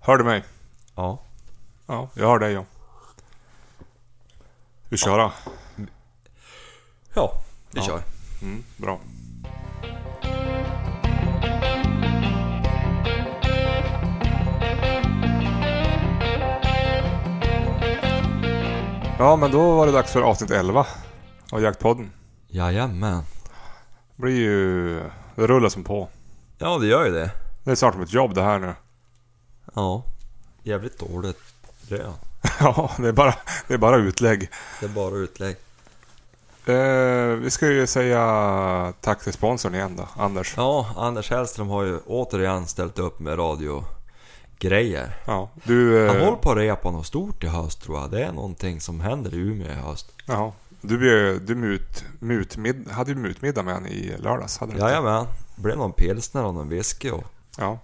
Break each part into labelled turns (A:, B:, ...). A: Hör du mig?
B: Ja.
A: Ja, jag hör dig ja. Vi kör då.
B: Ja, vi
A: Ja.
B: kör.
A: Mm, bra. Ja, men då var det dags för avsnitt 11 av Jaktpodden.
B: Jajamän.
A: Det blir ju... Det rullar som på.
B: Ja, det gör ju det.
A: Det är snart som ett jobb det här nu.
B: Ja. Jävligt dåligt. Det är,
A: Ja, det är bara, det är bara utlägg.
B: det är bara utlägg.
A: Eh, vi ska ju säga tack till sponsorn igen då, Anders.
B: Ja, Anders Hellström har ju återigen ställt upp med radiogrejer.
A: Ja, du...
B: Han
A: eh,
B: håller på att repa något stort i höst tror jag. Det är någonting som händer i Umeå i höst.
A: Ja, du, bjöd- du mut, mutmid, hade ju mutmiddag med han i lördags. Hade du inte?
B: Jajamän. Det blev någon pilsner och någon whisky och...
A: Ja.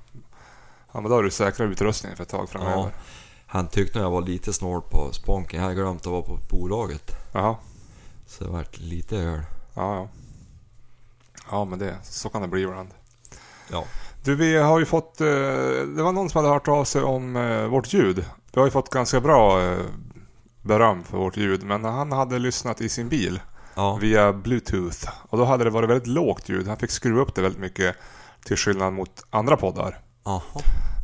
A: ja, men då har du säkra utrustningen för ett tag
B: Ja.
A: framöver.
B: Han tyckte nog jag var lite snål på sponken. Jag hade glömt att vara på bolaget.
A: Jaha.
B: Så det vart lite öl.
A: Ja, ja. Ja, men det, så kan det bli ibland.
B: Ja.
A: Du, vi har ju fått... eh, Det var någon som hade hört av sig om eh, vårt ljud. Vi har ju fått ganska bra eh, beröm för vårt ljud, men han hade lyssnat i sin bil
B: Ja.
A: via bluetooth. Och då hade det varit väldigt lågt ljud. Han fick skruva upp det väldigt mycket till skillnad mot andra poddar.
B: Aha.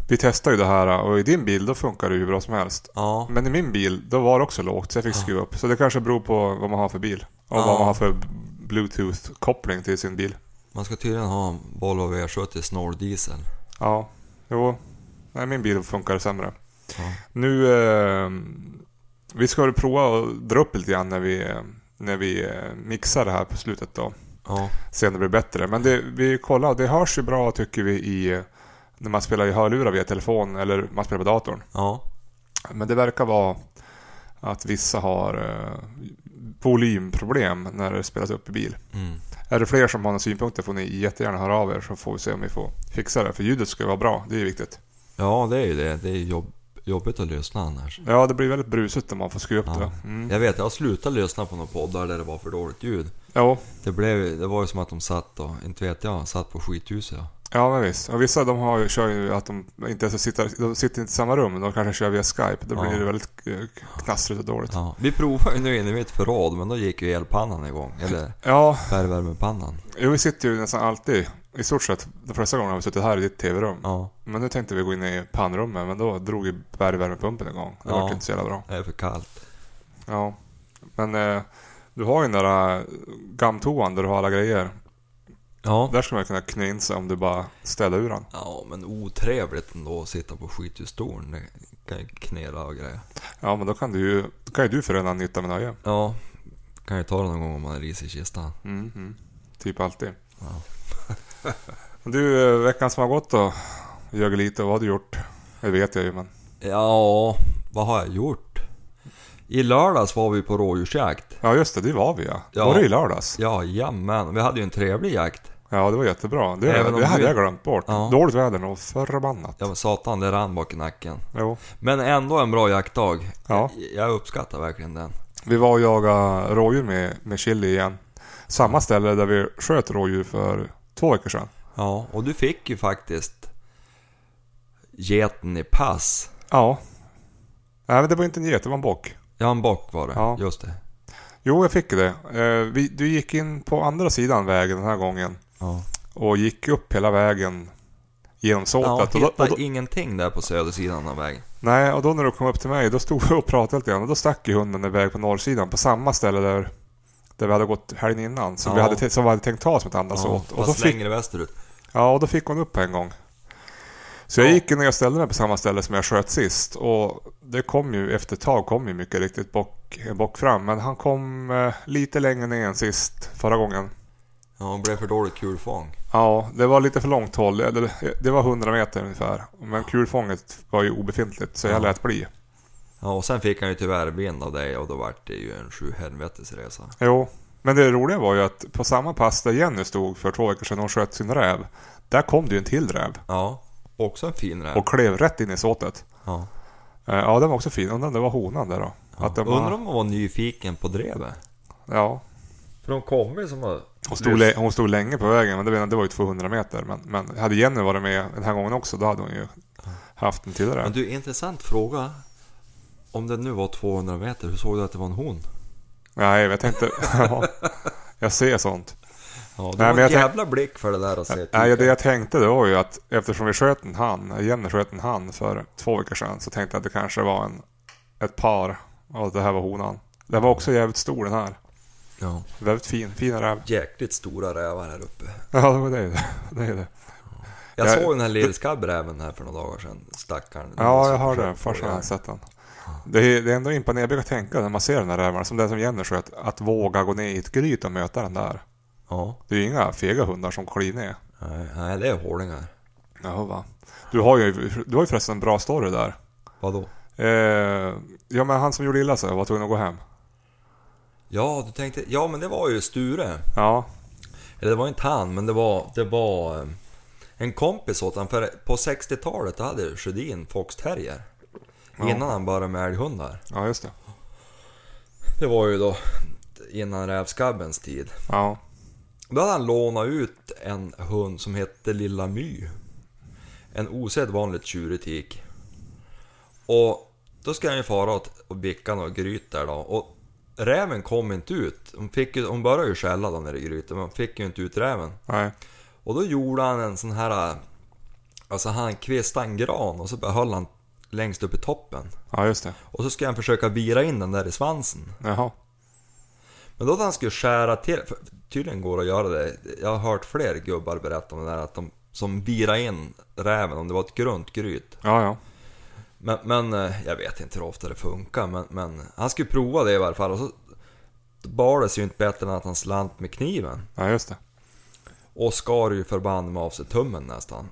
A: Vi testade ju det här och i din bil då funkar det ju hur bra som helst.
B: Ja.
A: Men i min bil då var det också lågt så jag fick skruva upp. Så det kanske beror på vad man har för bil. Och
B: Ja.
A: vad man har för bluetooth-koppling till sin bil.
B: Man ska tydligen ha en Volvo V70 snål diesel.
A: Ja, jo. Nej, min bil funkar sämre.
B: Ja.
A: Nu... Eh, vi ska väl prova att dra upp lite grann när vi, eh, när vi eh, mixar det här på slutet då.
B: Ja.
A: se om det blir bättre. Men det, vi kollar, det hörs ju bra tycker vi i när man spelar i hörlurar via telefon eller man spelar på datorn.
B: Ja.
A: Men det verkar vara att vissa har eh, volymproblem när det spelas upp i bil.
B: Mm.
A: Är det fler som har några synpunkter får ni jättegärna höra av er så får vi se om vi får fixa det. För ljudet ska ju vara bra, det är ju viktigt.
B: Ja, det är ju det. Det är jobb, jobbigt att lyssna annars.
A: Ja, det blir väldigt brusigt om man får skruva upp
B: Ja.
A: det. va? Mm.
B: Jag vet, jag har slutat lyssna på några poddar där det var för dåligt ljud.
A: Jo,
B: Det, blev, det var ju som att de satt och, inte vet jag, satt på skithuset. ja.
A: ja men visst. Och vissa de har, ju- kör ju att de inte ens sitter, de sitter inte i samma rum, de kanske kör via Skype. Då
B: Ja.
A: blir det väldigt eh, knastrigt och dåligt.
B: Ja. Vi provade ju nu inne i mitt förråd, men då gick ju elpannan igång. Eller
A: Ja,
B: fjärrvärmepannan.
A: jo, vi sitter ju nästan alltid, i stort sett de flesta gångerna har vi suttit här i ditt tv-rum.
B: Ja,
A: Men nu tänkte vi gå in i pannrummet, men då drog ju bergvärmepumpen igång. Det
B: Ja.
A: var inte så jävla bra.
B: det är för kallt.
A: Ja. Men eh, du har ju den där eh, gammtoan där du har alla grejer.
B: Ja.
A: Där skulle man kunna knö in sig om du bara städar ur den.
B: Ja, men otrevligt ändå att sitta på skithusstolen. Det kan ju knela och grejer.
A: Ja, men då kan, du ju, då kan ju du förena nytta med nöje.
B: Ja, kan ju ta det någon gång om man är ris i kistan.
A: Mm, mm. Typ alltid.
B: Ja.
A: du, eh, veckan som har gått då? Ljög lite, vad har du gjort? Det vet jag ju, men...
B: Ja, vad har jag gjort? I lördags var vi på rådjursjakt.
A: Ja, just det. Det var vi ja.
B: Ja.
A: Var det i lördags?
B: Jajamän, vi hade ju en trevlig jakt.
A: Ja, det var jättebra. Det,
B: Även om
A: det hade
B: du-
A: jag glömt bort.
B: Ja.
A: Dåligt väder och förbannat.
B: Ja men satan, det rann bak i nacken.
A: Jo.
B: Men ändå en bra jaktdag.
A: Ja.
B: Jag, jag uppskattar verkligen den.
A: Vi var och jagade rådjur med, med chili igen. Samma ställe där vi sköt rådjur för två veckor sedan.
B: Ja, och du fick ju faktiskt geten i pass.
A: Ja. Nej, men det var inte en get, det var en bock.
B: Ja, en bock var det.
A: Ja.
B: Just det.
A: Jo, jag fick det. Eh, vi, du gick in på andra sidan vägen den här gången
B: Ja.
A: och gick upp hela vägen genom
B: Ja,
A: såtet. och, då,
B: hittade
A: och då,
B: ingenting där på södersidan av vägen.
A: nej, och då när du kom upp till mig, då stod vi och pratade lite grann och då stack ju hunden iväg på norrsidan på samma ställe där, där vi hade gått helgen innan. Som, vi,
B: Ja.
A: hade, te- som vi hade tänkt ta som ett andra
B: Ja,
A: såt. Och
B: fast
A: så fick
B: längre västerut.
A: Ja, och då fick hon upp på en gång. Så jag
B: Ja.
A: gick in och jag ställde mig på samma ställe som jag sköt sist. Och det kom ju efter ett tag kom ju mycket riktigt bock, en bock fram. Men han kom eh, lite längre ner än sist förra gången.
B: Ja, det blev för dåligt kulfång.
A: Ja, det var lite för långt håll. Eller, det var 100 meter ungefär. Men kulfånget var ju obefintligt så jag
B: Ja.
A: lät bli.
B: Ja, och sen fick han ju tyvärr vind av dig och då vart det ju en sju helvetes resa.
A: Jo, men det roliga var ju att på samma pass där Jenny stod för två veckor sedan hon sköt sin räv. Där kom det ju en till räv
B: Ja, också en fin räv.
A: och klev rätt in i såtet.
B: ja.
A: Eh, Ja, den var också fin. Undrar om det var honan där då. Att den bara-
B: Undrar om hon var nyfiken på drevet?
A: Ja,
B: För de kom ju som var...
A: hon stod, lä- hon stod länge på vägen, men det, var- det var ju 200 meter. Men, men hade Jenny varit med den här gången också, då hade hon ju, hade haft den tidigare.
B: Men du, intressant fråga. Om den nu var 200 meter, hur såg du att det var en hon?
A: Nej, men jag tänkte... ja, jag ser sånt.
B: Ja, du
A: Nej,
B: har
A: men
B: en
A: jag tänk-
B: jävla blick för det där att se.
A: Nej, det jag tänkte det var ju att eftersom vi sköt en han, Jenny sköt en han för två veckor sedan, så tänkte jag att det kanske var en, ett par och att det här var honan. Den var också jävligt stor den här.
B: Ja.
A: Väldigt fin, fin räv.
B: Jäkligt stora rävar här uppe.
A: Ja, det var det. det, är det.
B: Jag
A: Jag-
B: såg den här lillskabbräven här för några dagar sedan, stackaren. Den var
A: Ja,
B: så
A: jag hörde det.
B: försökt på
A: Farsan
B: ihjäl.
A: hade sett den. Det är, det är ändå imponerande att tänka när man ser den här räven, som den som Jenny sköt, att våga gå ner i ett gryt och möta den där.
B: Ja,
A: Det är ju inga fega hundar som kliver ner.
B: nej, nej, det är hålingar.
A: Jaha, va. Du har ju, du har ju förresten en bra story där.
B: Vadå?
A: Eh, ja, men han som gjorde illa sig var tvungen att gå hem.
B: Ja, du tänkte, ja men det var ju Sture.
A: Ja,
B: Eller det var inte han, men det var, det var eh, en kompis åt han. För på 60-talet då hade Sjödin foxterrier.
A: Ja.
B: Innan han började med älghundar.
A: ja just det.
B: Det var ju då innan rävskabbens tid.
A: Ja,
B: Då hade han lånat ut en hund som hette Lilla My. En osedvanligt tjurig tik. Och då ska han ju fara åt och bicka något gryt där då. Och räven kom inte ut. Hon, fick ju, hon började ju skälla då nere i grytet, men hon fick ju inte ut räven.
A: nej.
B: Och då gjorde han en sån här... Alltså han kvistade en gran och så bara höll han längst upp i toppen.
A: Ja, just det.
B: Och så ska han försöka vira in den där i svansen.
A: Jaha.
B: Men då att han skulle skära till, för tydligen går det att göra det. Jag har hört fler gubbar berätta om det där att de som virar in räven om det var ett grunt gryt.
A: Ja, ja.
B: Men, men eh, jag vet inte hur ofta det funkar men, men han skulle prova det i varje fall och så bar det sig ju inte bättre än att han slant med kniven.
A: Ja, just det.
B: Och skar ju förbannat med av sig tummen nästan.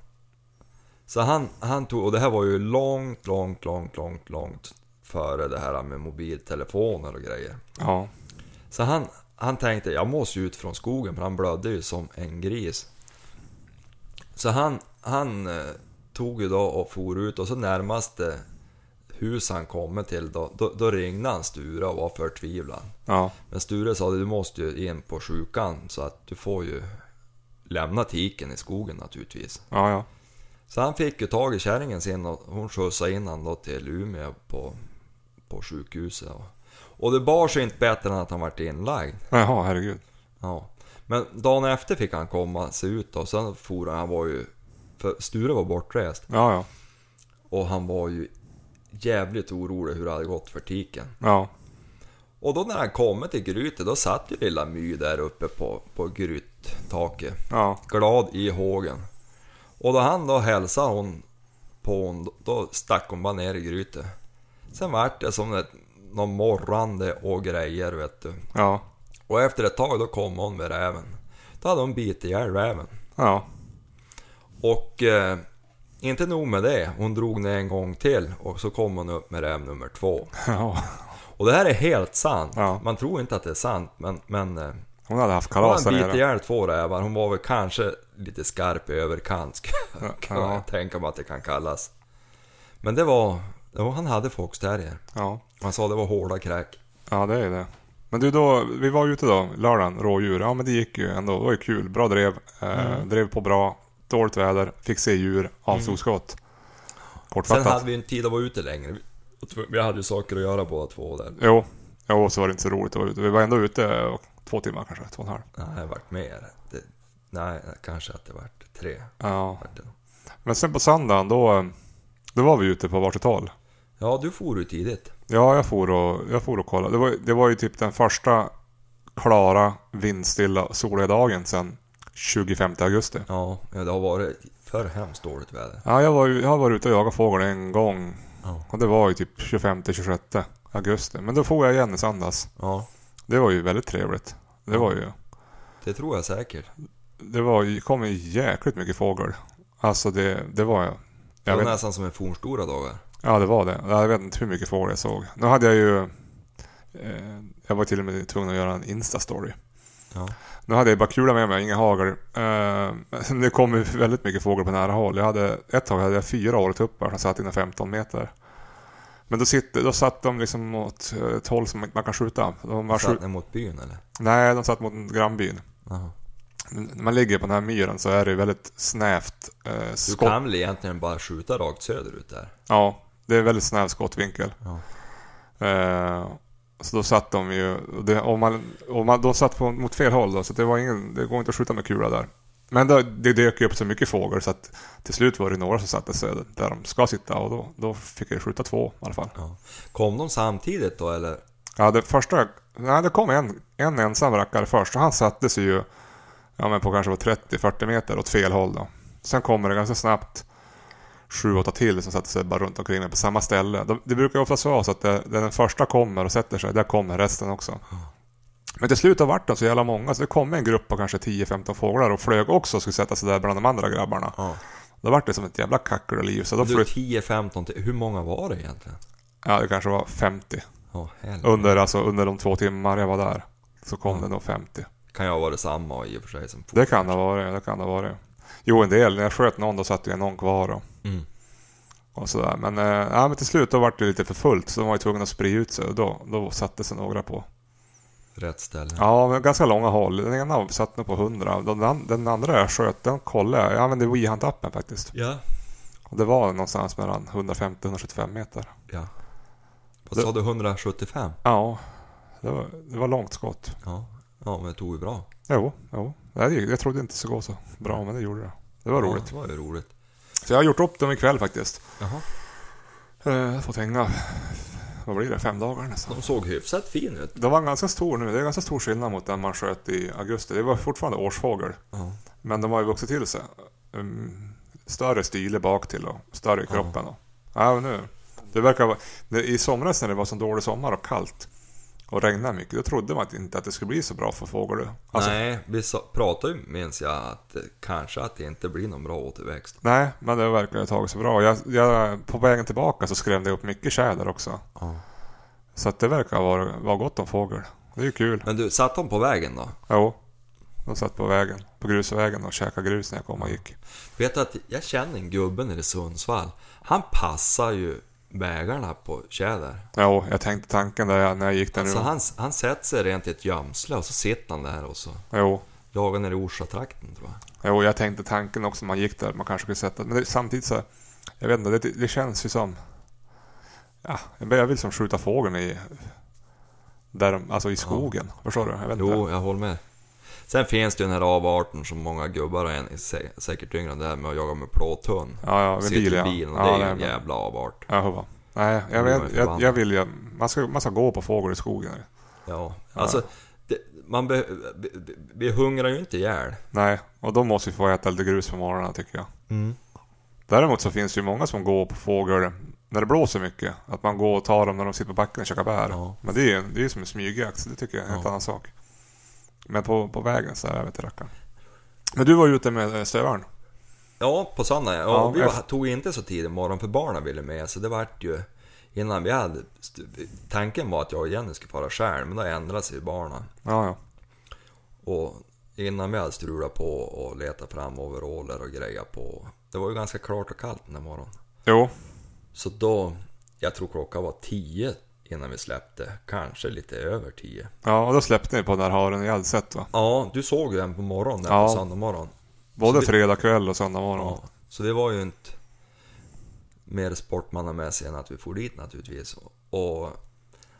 B: Så han, han tog, och det här var ju långt, långt, långt, långt, långt före det här med mobiltelefoner och grejer.
A: Ja,
B: Så han, han tänkte, jag måste ju ut från skogen för han blödde ju som en gris. Så han, han eh, tog ju då och for ut och så närmaste hus han kommer till då, då, då ringde han Sture och var förtvivlad.
A: ja,
B: Men Sture sa du måste ju in på sjukan så att du får ju lämna tiken i skogen naturligtvis.
A: ja, ja.
B: Så han fick ju tag i kärringen sin och hon skjutsade in han då till Umeå på, på sjukhuset. Och det bar sig inte bättre än att han vart inlagd.
A: Jaha, herregud.
B: Ja. Men dagen efter fick han komma, se ut då. Sen for han, han var ju... För Sture var bortrest
A: Ja, ja,
B: och han var ju jävligt orolig hur det hade gått för tiken.
A: ja,
B: Och då när han kommit till grytet, då satt ju lilla My där uppe på, på gryttaket.
A: ja,
B: Glad i hågen. Och då han då hälsade hon på hon, då stack hon bara ner i grytet. Sen vart det som ett, någon morrande och grejer vet du.
A: ja,
B: Och efter ett tag då kom hon med räven. Då hade hon bitit ihjäl räven.
A: ja,
B: Och eh, inte nog med det, hon drog ner en gång till och så kom hon upp med räv nummer två.
A: ja.
B: Och det här är helt sant.
A: Ja.
B: Man tror inte att det är sant men, men eh,
A: Hon hade haft
B: hon
A: kalas där
B: hade bitit
A: nere.
B: ihjäl två rävar. Hon var väl kanske lite skarp i överkant ska-
A: Ja,
B: kan
A: ja.
B: jag tänka mig att det kan kallas. Men det var, ja, han hade foxterrier.
A: Ja,
B: Han sa det var hårda kräk.
A: ja, det är det. Men du då, vi var ute då, lördagen, rådjur. Ja, men det gick ju ändå. Det var ju kul. Bra drev. Eh,
B: Mm.
A: Drev på bra. Dåligt väder. Fick se djur. Avslog skott.
B: Sen
A: Kortfattat.
B: hade vi ju inte tid att vara ute längre. Vi hade ju saker att göra båda två där.
A: Jo. Jo, så var det inte så roligt att vara ute. Vi var ändå ute och, två timmar kanske, två och en halv.
B: Nej, det vart mer. Det, nej, kanske att det vart tre.
A: Ja.
B: Vart det.
A: Men sen på söndagen då, eh, då var vi ute på varsitt håll.
B: Ja, du for ju tidigt.
A: Ja, jag for och, jag for och kollade. Det var, det var ju typ den första klara, vindstilla, soliga dagen sedan 25 augusti.
B: Ja, ja, det har varit för hemskt dåligt väder.
A: Ja, jag var, ju- jag har varit ute och jagat fågel en gång.
B: Ja.
A: Och det var ju typ 25-26 augusti. Men då for jag igen i söndags.
B: Ja,
A: Det var ju väldigt trevligt. Det var ju...
B: det tror jag säkert.
A: Det var, ju- kom ju jäkligt mycket fågel. Alltså det, det var jag.
B: Det var
A: jag vet,
B: nästan som en fornstora dagar.
A: ja, det var det. Jag vet inte hur mycket fågel jag såg. Nu hade jag ju... Eh, jag var till och med tvungen att göra en Insta-story.
B: Ja.
A: Nu hade jag bara kula med mig, ingen hagel. Eh, men det kom ju väldigt mycket fågel på nära håll. Jag hade, ett tag hade jag fyra åretuppar som satt inom 15 meter. Men då, sitter, då satt de liksom åt eh, ett håll som man kan skjuta. De var
B: Satt
A: skjut...
B: ni mot byn eller?
A: Nej, de satt mot grannbyn.
B: Jaha.
A: När man ligger på den här myren så är det ju väldigt snävt eh,
B: Du
A: skott.
B: kan väl egentligen bara skjuta rakt söderut där?
A: Ja, det är väldigt snäv skottvinkel.
B: Ja.
A: Eh, så då satt de ju... och Det, om man, om man, de satt på, mot fel håll då, så det, var ingen, det går inte att skjuta med kula där. Men då, det dök ju upp så mycket fåglar så att till slut var det några som satte sig där de ska sitta och då, då fick jag skjuta två i alla fall.
B: Ja. Kom de samtidigt då eller?
A: Ja, det första... Nej, det kom en, en ensam rackare först och han satte sig ju ja, men på kanske var 30-40 meter åt fel håll. Då. Sen kommer det ganska snabbt sju, åtta till som sätter sig bara runt omkring mig på samma ställe. De, det brukar ju oftast vara så att det, där den första kommer och sätter sig, där kommer resten också. Men till slut har vart de så jävla många så det kom en grupp på kanske 10-15 fåglar och flög också och skulle sätta sig där bland de andra grabbarna.
B: Ja.
A: Då vart det som ett jävla kackeloliv. Så då
B: Du,
A: flytt,
B: 10-15 till, hur många var det egentligen?
A: ja, det kanske var 50.
B: Ja, helvete.
A: Under, alltså, under de två timmar jag var där så kom det nog 50.
B: Kan jag vara detsamma i och för sig som
A: Det kan det vara det kan det vara Jo, en del. När jag sköt någon då satt ju någon kvar och,
B: Mm.
A: och sådär. Men, eh, ja, men till slut då vart det lite för fullt så de var ju tvungna att sprida ut sig och då, då satte sig några på.
B: rätt ställe.
A: Ja, men ganska långa håll. Den ena satt nog på 100. Den, an- den andra jag sköt, den kollade jag. Jag använde Weehunt-appen faktiskt.
B: Ja.
A: Och det var någonstans mellan 150-175 meter.
B: ja. Vad sa du, 175?
A: Ja, det var, det var långt skott.
B: Ja. Ja, men det tog ju bra.
A: Jo, jo. Nej, det gick- Jag trodde inte det skulle gå så bra, men det gjorde det. Det var roligt.
B: Ja, det var ju roligt.
A: Så jag har gjort upp dem ikväll faktiskt.
B: Jaha.
A: Eh, Jag har fått hänga, vad blir det, fem dagar nästan.
B: De såg hyfsat fin ut.
A: Det var en ganska stor nu, det är ganska stor skillnad mot den man sköt i augusti. Det var fortfarande årsfågel,
B: Ja.
A: men de har ju vuxit till sig. Mm, större style bak till och större i kroppen. Och. Ja, men nu. Det verkar vara, det, I somras när det var så dålig sommar och kallt och regnade mycket, då trodde man att inte att det skulle bli så bra för fågel. Alltså,
B: Nej, vi sa, pratade ju minns jag att eh, kanske att det inte blir någon bra återväxt.
A: nej, men det verkar ha tagit sig bra. Jag, jag, på vägen tillbaka så skrämde jag upp mycket tjäder också.
B: Ja.
A: Så att det verkar vara, vara gott om fågel. Det är ju kul.
B: Men du, satt de på vägen då?
A: Jo, de satt på vägen, på grusvägen och käkade grus när jag kom och gick.
B: Vet du att jag känner en gubbe nere i Sundsvall. Han passar ju vägarna på tjäder.
A: Jo, jag tänkte tanken där jag- när jag gick där nu.
B: Så han, han sätter sig rent i ett gömsle och så sitter han där och så
A: Jo,
B: jagar ner i Orsa-trakten tror jag.
A: jo, jag tänkte tanken också när man gick där. Man kanske skulle sätta... Men det, samtidigt så... Jag vet inte, det, det känns ju som... Ja, jag vill- jag vill som skjuta fågeln i... Där de, alltså i skogen. Förstår du? Jag vet inte.
B: Jo, jag håller med. Sen finns det ju den här avarten som många gubbar är en- sä- säkert yngre än det här med att jaga med plåthund.
A: Ja, ja, med
B: Sitter i
A: bil ja.
B: bilen och
A: ja,
B: det är ju en
A: nej, men-
B: jävla avart.
A: Ja, huvva. Nej, jag,
B: Jag
A: vet,
B: är
A: jag, jag
B: förbannad.
A: vill ju... Man ska, man ska gå på fågel i skogen.
B: Ja, alltså det, man be, vi, vi hungrar ju inte ihjäl.
A: Nej, och då måste vi få äta lite grus på morgonen tycker jag.
B: Mm.
A: Däremot så finns det ju många som går på fågel när det blåser mycket. Att man går och tar dem när de sitter på backen och käkar bär.
B: Ja.
A: Men det är ju det är ju som en smygjakt, så det tycker jag är en helt annan sak. Men på, på vägen så är jag vet inte rackaren. Men du var ju ute med eh, stövaren.
B: Ja, på söndag. Ja,
A: Ja,
B: vi var,
A: efter-
B: tog inte så tidig morgon för barnen ville med så det vart ju innan vi hade... st- Tanken var att jag och Jenny skulle fara själv men då ändrade sig barnen.
A: Ja, ja.
B: Och innan vi hade strulat på och letat fram overaller och grejer på. Det var ju ganska klart och kallt den där morgonen.
A: Jo,
B: Så då, jag tror klockan var 10 innan vi släppte. Kanske lite över 10.
A: ja, och då släppte ni på den här haren i Gäddset va?
B: Ja, du såg ju en på morgonen där
A: Ja.
B: på söndag morgon.
A: Både
B: Så det-
A: fredag kväll och söndag morgon.
B: Ja, så det var ju inte mer sportmannamässigt än att vi for dit naturligtvis. Och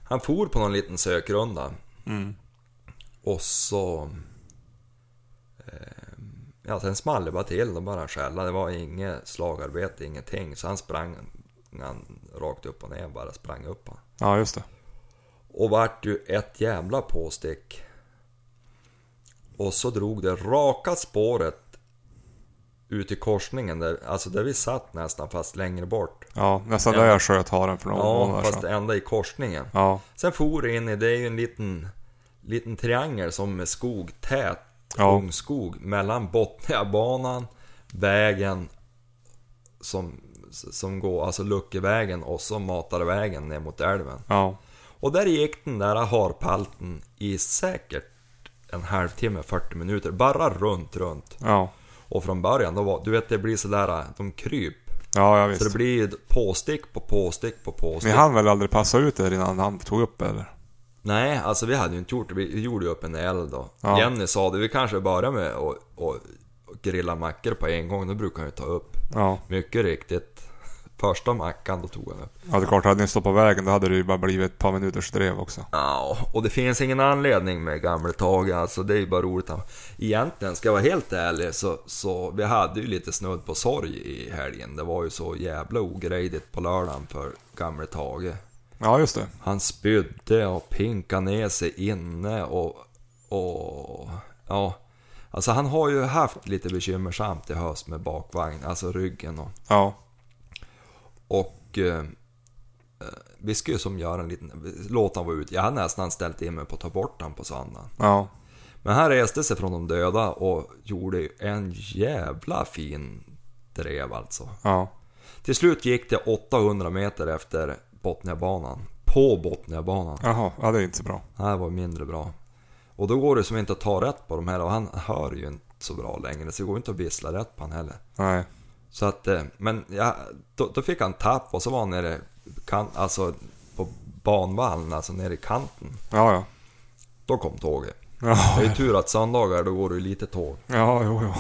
B: han for på någon liten sökrunda. Och så... Eh, ja, sen small det bara till. Då bara han skälla. Det var inget slagarbete, ingenting. Så han sprang han rakt upp och ner, bara sprang upp han.
A: Ja, just det.
B: Och vart ju ett jävla påstick. Och så drog det raka spåret ut i korsningen, där, alltså där vi satt nästan fast längre bort.
A: Ja, nästan där jag sköt haren för några
B: Ja,
A: månader
B: fast
A: sedan.
B: ända i korsningen.
A: Ja,
B: Sen for det in i, det är ju en liten, liten triangel som är skog, tät
A: Ja.
B: ungskog mellan Botniabanan, vägen som, som går, alltså Luckevägen och så Matarvägen ner mot älven.
A: ja,
B: Och där gick den där harpalten i säkert en halvtimme, 40 minuter, bara runt, runt.
A: ja.
B: Och från början, då var, du vet det blir sådär, äh, de kryp.
A: Ja, ja
B: Så det
A: visst.
B: blir ju påstick på påstick på
A: Ni
B: påstick.
A: hann väl aldrig passa ut er innan han tog upp eller?
B: Nej, alltså vi hade ju inte gjort det. Vi gjorde ju upp en eld då.
A: Ja.
B: Jenny sa det, vi kanske börjar med att att- att grilla mackor på en gång. Då brukar han ju ta upp.
A: Ja,
B: Mycket riktigt. Första mackan, då tog han upp.
A: ja det är klart. Hade ni stått på vägen då hade det ju bara blivit ett par minuters drev också.
B: Ja, och det finns ingen anledning med gamle Tage, alltså det är ju bara roligt. Egentligen, ska jag vara helt ärlig, så, så vi hade ju lite snudd på sorg i helgen. Det var ju så jävla ogrejdigt på lördagen för gamle Tage.
A: Ja, just det.
B: Han spydde och pinkade ner sig inne och... och ja. Alltså han har ju haft lite bekymmersamt i höst med bakvagn, alltså ryggen och...
A: Ja,
B: Och eh, eh, vi skulle som göra en liten... Låt han vara ut. Jag hade nästan ställt in mig på att ta bort han på söndagen.
A: ja,
B: Men han reste sig från de döda och gjorde en jävla fin drev alltså.
A: ja.
B: Till slut gick det 800 meter efter Botniabanan. På Botniabanan.
A: Jaha, ja, det är inte så bra.
B: Det här var mindre bra. Och då går det som inte att ta rätt på de här och han hör ju inte så bra längre så det går inte att vissla rätt på han heller.
A: Nej,
B: Så att, eh, men ja, då, då fick han tapp och så var han nere kan, alltså på banvallen, alltså nere i kanten.
A: ja, ja.
B: Då kom tåget. Det är ju
A: Ja,
B: tur att söndagar då går det ju lite tåg.
A: ja jo, jo.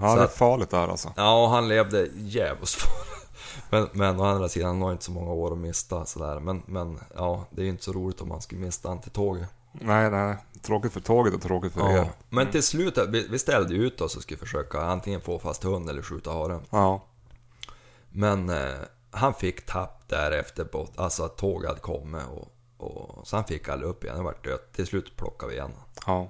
A: Ja,
B: Så
A: det är
B: att-
A: farligt där alltså.
B: Ja, han levde djävulskt farligt. men, men å andra sidan, han har inte så många år att mista sådär. Men, men ja, det är ju inte så roligt om man skulle mista han till tåget.
A: Nej, nej. Tråkigt för tåget och tråkigt för
B: Ja.
A: er.
B: Men till slut, vi, vi ställde ju ut oss och skulle försöka antingen få fast hund eller skjuta haren.
A: Ja,
B: Men eh, han fick tapp därefter, på, alltså att tåget hade kommit. Och, och, så han fick aldrig upp igen, det vart dött. Till slut plockade vi igen honom.
A: ja,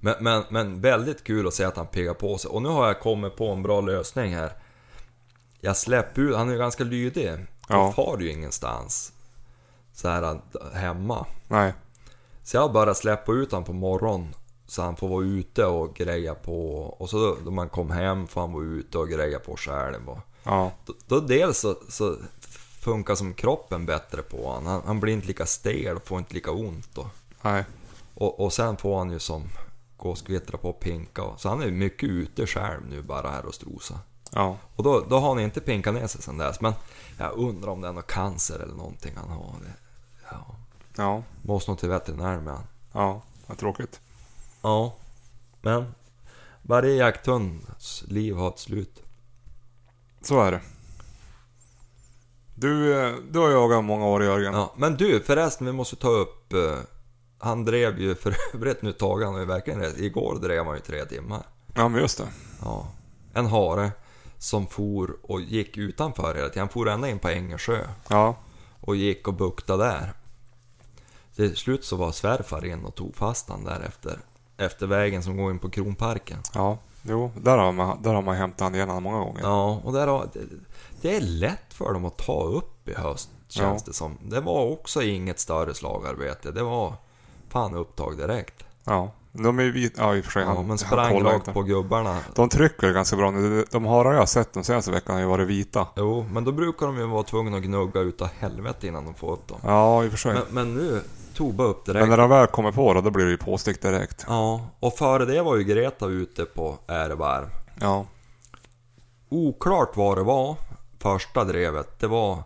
B: Men, men, men väldigt kul att se att han piggar på sig. Och nu har jag kommit på en bra lösning här. Jag släpper ut, han är ju ganska lydig.
A: Ja.
B: Han far ju ingenstans. Så här hemma.
A: nej.
B: Så jag bara släpper ut honom på morgonen. Så han får vara ute och greja på. Och så då, då man kom hem får han vara ute och greja på själv. Och
A: Ja,
B: då, då dels så, så funkar som kroppen bättre på honom. Han, han blir inte lika stel och får inte lika ont. Och,
A: nej.
B: och, och sen får han ju som gå och skvittra på och pinka. och- Så han är ju mycket ute själv nu bara här och strosa.
A: Ja,
B: Och då, då har han inte pinkat ner sig sen dess. Men jag undrar om det är någon cancer eller någonting han har. Det, ja.
A: ja,
B: Måste nog till veterinär med han.
A: ja. Vad tråkigt.
B: Ja, men varje jakthunds liv har ett slut.
A: Så är det. Du, eh, du har jagat många år Jörgen.
B: Ja, men du förresten, vi måste ta upp... eh, han drev ju för övrigt nu Tage, han har ju verkligen rätt. Igår drev han ju tre timmar.
A: ja, men just det.
B: Ja. En hare som for och gick utanför hela tiden. Han for ända in på Ängersjö
A: Ja,
B: och gick och buktade där. Till slut så var svärfar in och tog fast han därefter. Efter vägen som går in på Kronparken.
A: ja. Jo, där har man, där har man hämtat han igen många gånger.
B: Ja, och där har, det, det är lätt för dem att ta upp i höst, känns
A: Ja.
B: det som. Det var också inget större slagarbete. Det var fan upptag direkt.
A: Ja, de är ju vit... Ja, i och för sig.
B: Ja,
A: han-
B: men
A: han
B: sprang
A: kollar
B: rakt
A: inte.
B: på gubbarna.
A: De trycker ganska bra nu. De harar jag har sett de senaste veckan har ju varit vita.
B: Jo, men då brukar de ju vara tvungna att gnugga utav helvete innan de får upp dem.
A: Ja, i och för sig.
B: Men,
A: Men,
B: men nu tog bara upp direkt.
A: när de väl kommer på det, då blir det ju påstick direkt.
B: Ja, och före det var ju Greta ute på ärevarv.
A: Ja,
B: Oklart vad det var, första drevet. Det var...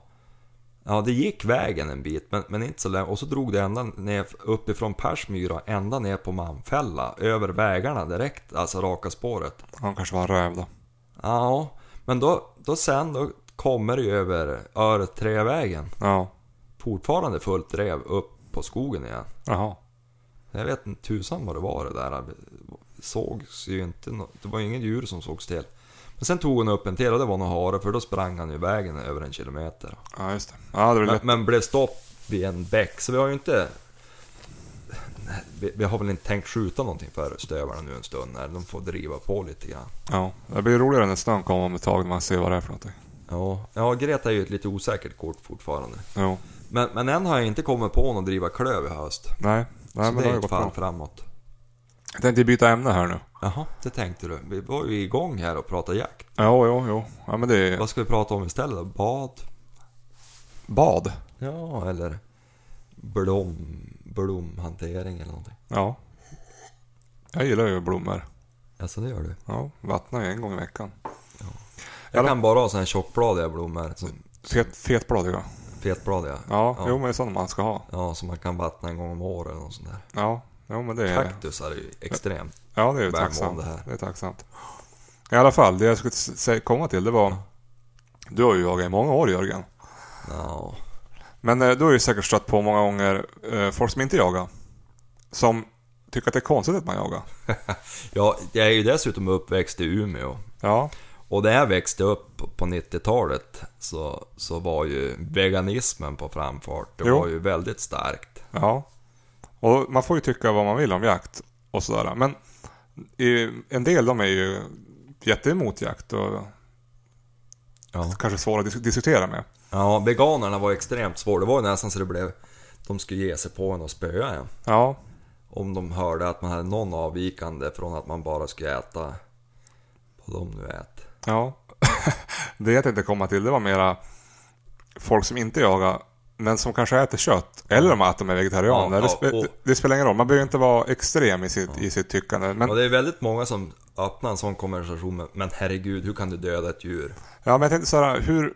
B: Ja, det gick vägen en bit, men, men inte så länge. Och så drog det ända ner, uppifrån Persmyra, ända ner på Malmfälla. Över vägarna direkt, alltså raka spåret.
A: han kanske var en räv då.
B: Ja, men då, då sen då kommer det ju över Öreträvägen.
A: Ja,
B: Fortfarande fullt drev upp på skogen igen.
A: jaha.
B: Jag vet inte tusan vad det var det där. Det Sågs ju inte nå- Det var ju ingen djur som sågs till. Men sen tog hon upp en till och det var nog hare för då sprang han ju vägen över en kilometer.
A: Ja, just det. Ja, det blir
B: Men,
A: lätt.
B: men blev stopp vid en bäck så vi har ju inte... Nej, Vi, vi har väl inte tänkt skjuta någonting för stövarna nu en stund när de får driva på lite grann.
A: Ja, det blir roligare när snön kommer om ett tag när man ser vad det är för någonting.
B: Ja, ja Greta är ju ett lite osäkert kort fortfarande.
A: Jo,
B: Men, men än har jag inte kommit på någon att driva klöv i höst.
A: nej. Nej,
B: så
A: men
B: det
A: det har
B: är
A: ju
B: ett
A: gått
B: fall
A: bra.
B: framåt.
A: Jag tänkte byta ämne här nu.
B: Jaha, det tänkte du. Vi var ju igång här och pratade jakt.
A: Jo, jo, jo. Ja, men det är
B: Vad ska vi prata om istället då? Bad?
A: bad.
B: Ja, eller blom, blomhantering eller någonting.
A: Ja. Jag gillar ju blommor.
B: Alltså det gör du.
A: Ja, vattnar ju en gång i veckan.
B: Jag
A: Eller-
B: kan bara ha sådana här tjockbladiga blommor. Som,
A: Fet, fetbladiga.
B: Fetblad ja.
A: Ja,
B: Ja.
A: jo men det är sådana man ska ha.
B: Ja, som man kan vattna en gång om året eller något sånt där.
A: Ja, jo, men det är...
B: Kaktus är ju extremt.
A: Ja, det är ju
B: Värme om
A: tacksamt.
B: det här.
A: Det, är tacksamt. I alla fall, det jag skulle sä- komma till det var... Du har ju jagat i många år Jörgen.
B: Ja.
A: Men eh, du har ju säkert stött på många gånger eh, folk som inte jagar. Som tycker att det är konstigt att man jagar.
B: ja, jag är ju dessutom uppväxt i Umeå.
A: Ja,
B: Och när jag växte upp på 90-talet så, så var ju veganismen på framfart. Det
A: Jo.
B: var ju väldigt starkt.
A: ja. Och man får ju tycka vad man vill om jakt och sådär. Men i, en del de är ju jätteemot jakt och
B: Ja.
A: kanske svåra att dis- diskutera med.
B: ja, veganerna var extremt svåra. Det var ju nästan så det blev... De skulle ge sig på en och spöa en.
A: Ja,
B: Om de hörde att man hade någon avvikande från att man bara skulle äta vad de nu äter.
A: ja. det jag tänkte komma till det var mera folk som inte jagar men som kanske äter kött. Eller om att de är vegetarianer.
B: Ja,
A: det,
B: ja,
A: spe,
B: och-
A: det, det spelar ingen roll. Man behöver inte vara extrem i sitt, i sitt tyckande. Men
B: Och det är väldigt många som öppnar en sån konversation med Men herregud, hur kan du döda ett djur?
A: Ja, men jag tänkte så här, hur...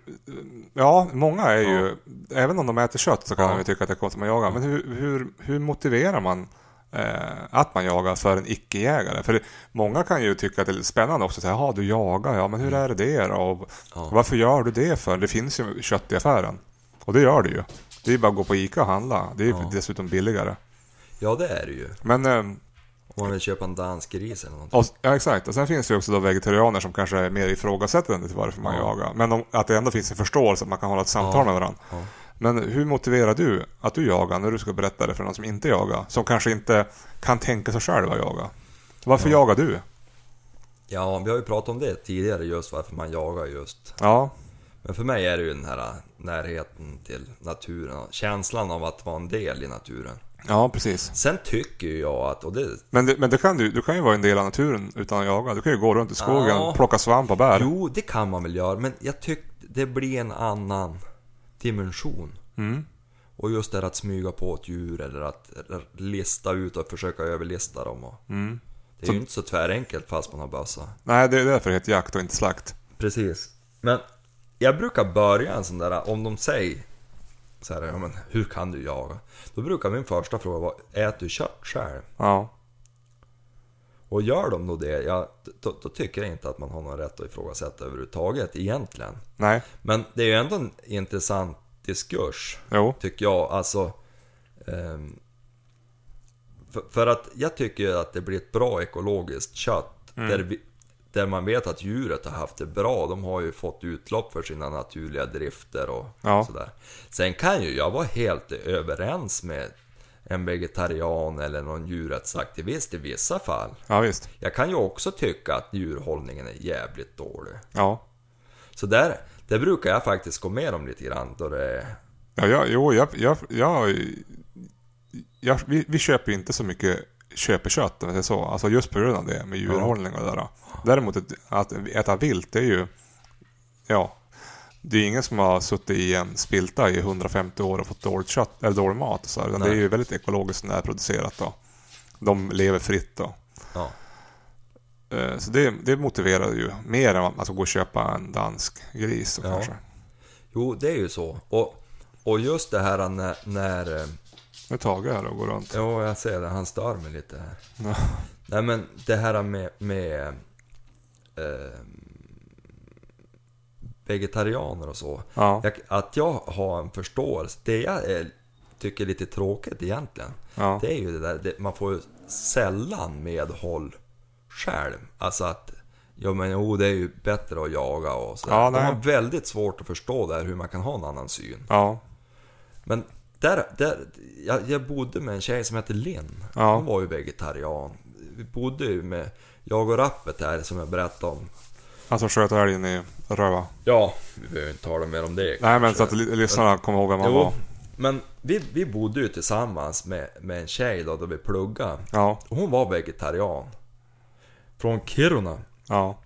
A: Ja, många är ju... Även om de äter kött så kan
B: Ja.
A: man ju tycka att det är konstigt att man jagar. Men hur, hur, hur motiverar man eh, att man jagar för en icke-jägare? För det, många kan ju tycka att det är lite spännande också. Så här, Jaha, du jagar, ja men hur är det då? Och,
B: Mm. Ja.
A: Varför gör du det för? Det finns ju kött i affären. Och det gör det ju. Det är ju bara att gå på Ica och handla. Det är ju
B: Ja.
A: dessutom billigare.
B: Ja, det är det ju.
A: Men... Eh,
B: Om man vill köpa en dansk gris eller någonting.
A: och, ja, exakt. Och sen finns det ju också då vegetarianer som kanske är mer ifrågasättande till varför man
B: Ja.
A: jagar. Men om, att det ändå finns en förståelse att man kan hålla ett samtal
B: Ja.
A: med varandra.
B: Ja.
A: Men hur motiverar du att du jagar när du ska berätta det för någon som inte jagar? Som kanske inte kan tänka sig själv att jaga. Varför jagar du?
B: Ja, vi har ju pratat om det tidigare just varför man jagar just.
A: Ja,
B: Men för mig är det ju den här närheten till naturen och känslan av att vara en del i naturen.
A: ja precis.
B: Sen tycker ju jag att, och det...
A: Men, det, men det kan du, du kan ju vara en del av naturen utan att jaga. Du kan ju gå runt i skogen,
B: Ja.
A: plocka svamp och bär.
B: Jo, det kan man väl göra, men jag tyckte det blir en annan dimension.
A: Mm.
B: Och just det här att smyga på ett djur eller att lista ut och försöka överlista dem. Och...
A: Mm.
B: Det är ju inte så tvärenkelt fast man har bössa.
A: Nej, det är därför det heter jakt och inte slakt.
B: Precis. Men jag brukar börja en sån där, om de säger så här, ja, men hur kan du jaga? Då brukar min första fråga vara, äter du kött själv?
A: Ja,
B: Och gör de då det, ja, då, då tycker jag inte att man har någon rätt att ifrågasätta överhuvudtaget egentligen.
A: nej,
B: Men det är ju ändå en intressant diskurs,
A: jo,
B: tycker jag. Alltså, ehm, för, för att jag tycker ju att det blir ett bra ekologiskt kött. Där, vi, där man vet att djuret har haft det bra. De har ju fått utlopp för sina naturliga drifter och
A: Ja.
B: sådär. Sen kan ju jag vara helt överens med en vegetarian eller någon djurrättsaktivist i vissa fall.
A: ja visst.
B: Jag kan ju också tycka att djurhållningen är jävligt dålig.
A: Ja,
B: Så där, där brukar jag faktiskt gå med dem lite grann då det är...
A: Ja, jag, jo, jag, jag, jag, jag, vi, vi köper ju inte så mycket köpekött, om det är så. Alltså just på grund av det med djurhållning och det där. Däremot att, att äta vilt, det är ju... Ja, det är ingen som har suttit i en spilta i 150 år och fått dåligt kött, eller dålig mat. och Så här, utan det är
B: Nej.
A: ju väldigt ekologiskt närproducerat. Då. De lever fritt. Då.
B: Ja,
A: Eh, Så det, det motiverar ju mer än att man ska gå och köpa en dansk gris. då
B: Ja.
A: Kanske.
B: jo det är ju så. Och, och just det här när... när eh,
A: Nu tar jag här och går runt.
B: jo, jag ser det, han stör mig lite här.
A: Ja.
B: Nej men det här med... med eh, vegetarianer och så.
A: Ja,
B: Jag, att jag har en förståelse. Det jag är, tycker är lite tråkigt egentligen.
A: ja,
B: Det är ju det där, det, man får ju sällan medhåll själv. Alltså att, ja men jo det är ju bättre att jaga och sådär.
A: Ja,
B: De
A: nej.
B: har väldigt svårt att förstå där hur man kan ha en annan syn.
A: ja,
B: Men där, där jag, jag bodde med en tjej som hette Linn.
A: Ja.
B: Hon var ju vegetarian. Vi bodde ju med, jag och Rappet här som jag berättade om.
A: Han som sköt älgen i Röva.
B: Ja, vi behöver ju inte tala mer om det
A: Nej men
B: kanske.
A: så att li- lyssnarna kommer ihåg vem han
B: Jo,
A: var.
B: men vi, vi bodde ju tillsammans med, med en tjej då, då vi pluggade.
A: Ja,
B: Och Hon var vegetarian. Från Kiruna.
A: ja,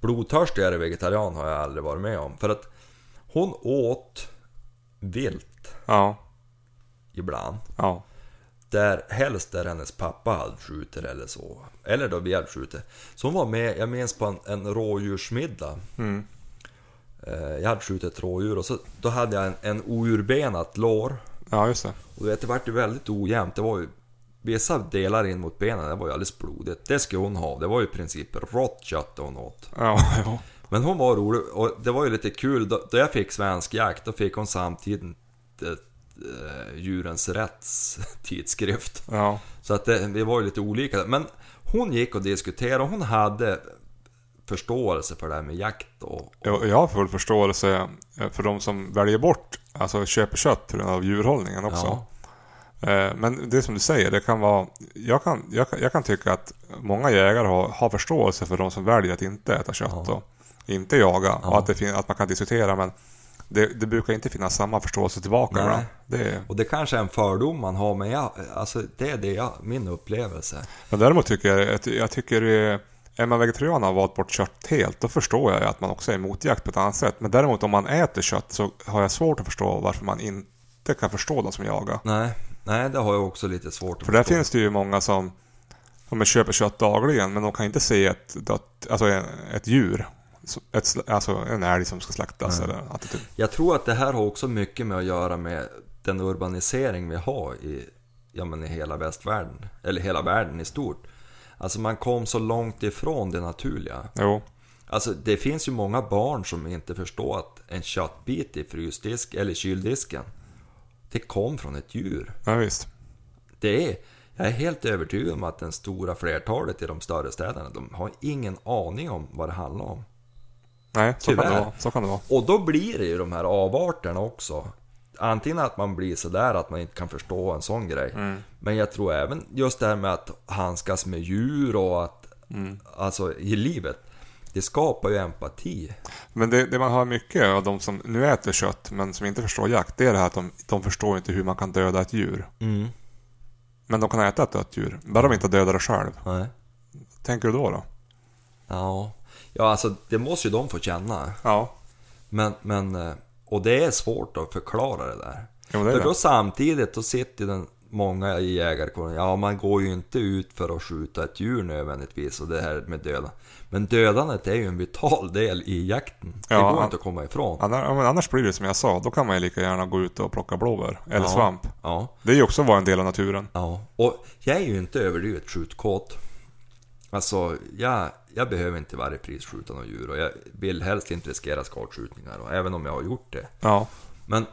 B: Blodtörstigare vegetarian har jag aldrig varit med om. För att hon åt vilt
A: ja,
B: ibland.
A: ja,
B: Där helst där hennes pappa hade skjutit eller så. Eller då vi hade skjutit. Så hon var med, jag minns på en, en rådjursmiddag. Eh, Jag hade skjutit ett rådjur och så, då hade jag en, en ourbenat lår.
A: Ja, just det.
B: Och du vet, det vart ju väldigt ojämnt. Det var ju vissa delar in mot benen, det var ju alldeles blodigt. Det skulle hon ha. Det var ju i princip rått kött hon åt.
A: Ja, ja.
B: Men hon var rolig och det var ju lite kul. Då, då jag fick svensk jakt, då fick hon samtidigt eh, djurens rätts tidskrift.
A: ja.
B: Så att det, vi var ju lite olika. där. Men hon gick och diskuterade och hon hade förståelse för det här med jakt och...
A: Jag, jag har full förståelse eh, för de som väljer bort, alltså köper kött på grund av djurhållningen också.
B: Ja.
A: Eh, Men det är som du säger, det kan vara... Jag kan, jag, kan- jag kan tycka att många jägare har, har förståelse för de som väljer att inte äta kött
B: Ja.
A: och inte jaga. Och att, det fin- att man kan diskutera, men det, det brukar inte finnas samma förståelse tillbaka.
B: Nej.
A: ibland. Det är,
B: Och det kanske är en fördom man har, men jag, alltså, det är det jag, min upplevelse.
A: men däremot tycker jag, att- jag tycker... eh, Är man vegetarian och har valt bort kött helt, då förstår jag ju att man också är emot jakt på ett annat sätt. Men däremot om man äter kött så har jag svårt att förstå varför man inte kan förstå de som jagar.
B: Nej, nej det har jag också lite svårt att
A: För där
B: förstå.
A: finns det ju många som de köper kött dagligen men de kan inte se ett, dött, alltså en, ett djur. Så- Ett, sl- alltså en älg som ska slaktas eller attityd.
B: Jag tror att det här har också mycket med att göra med den urbanisering vi har i, ja, men i hela västvärlden, eller hela världen i stort. Alltså man kom så långt ifrån det naturliga.
A: Jo,
B: Alltså det finns ju många barn som inte förstår att en köttbit i frysdisk eller kyldisken, det kom från ett djur.
A: ja, visst.
B: Det är, jag är helt övertygad om att den stora flertalet i de större städerna, de har ingen aning om vad det handlar om.
A: Nej, så kan, det
B: Tyvärr.
A: vara. så kan det vara.
B: Och då blir det ju de här avarterna också. Antingen att man blir sådär att man inte kan förstå en sån grej. Men jag tror även just det här med att handskas med djur och att... Alltså i livet. Det skapar ju empati.
A: Men det, det man har mycket av de som nu äter kött men som inte förstår jakt, det är det här att de, de förstår inte hur man kan döda ett djur.
B: Mm.
A: Men de kan äta ett dött djur, bara de inte dödar det själv.
B: Nej.
A: Tänker du då? då?
B: Ja. ja, alltså det måste ju de få känna.
A: Ja.
B: Men, men, eh, och det är svårt att förklara det där.
A: Jo, men det är
B: för
A: det.
B: då samtidigt, då sitter ju den, många i jägarkåren, ja man går ju inte ut för att skjuta ett djur nödvändigtvis och det här med döda. Men dödandet är ju en vital del i jakten.
A: Ja,
B: det går
A: an-
B: inte att komma ifrån.
A: Annars, ja, men annars blir det som jag sa, då kan man ju lika gärna gå ut och plocka blåbär eller
B: Ja,
A: svamp.
B: Ja,
A: Det är ju också att vara en del av naturen.
B: ja. Och jag är ju inte överdrivet skjutkåt. Alltså, jag, jag behöver inte i varje pris skjuta något djur och jag vill helst inte riskera skadskjutningar, och även om jag har gjort det.
A: Ja.
B: Men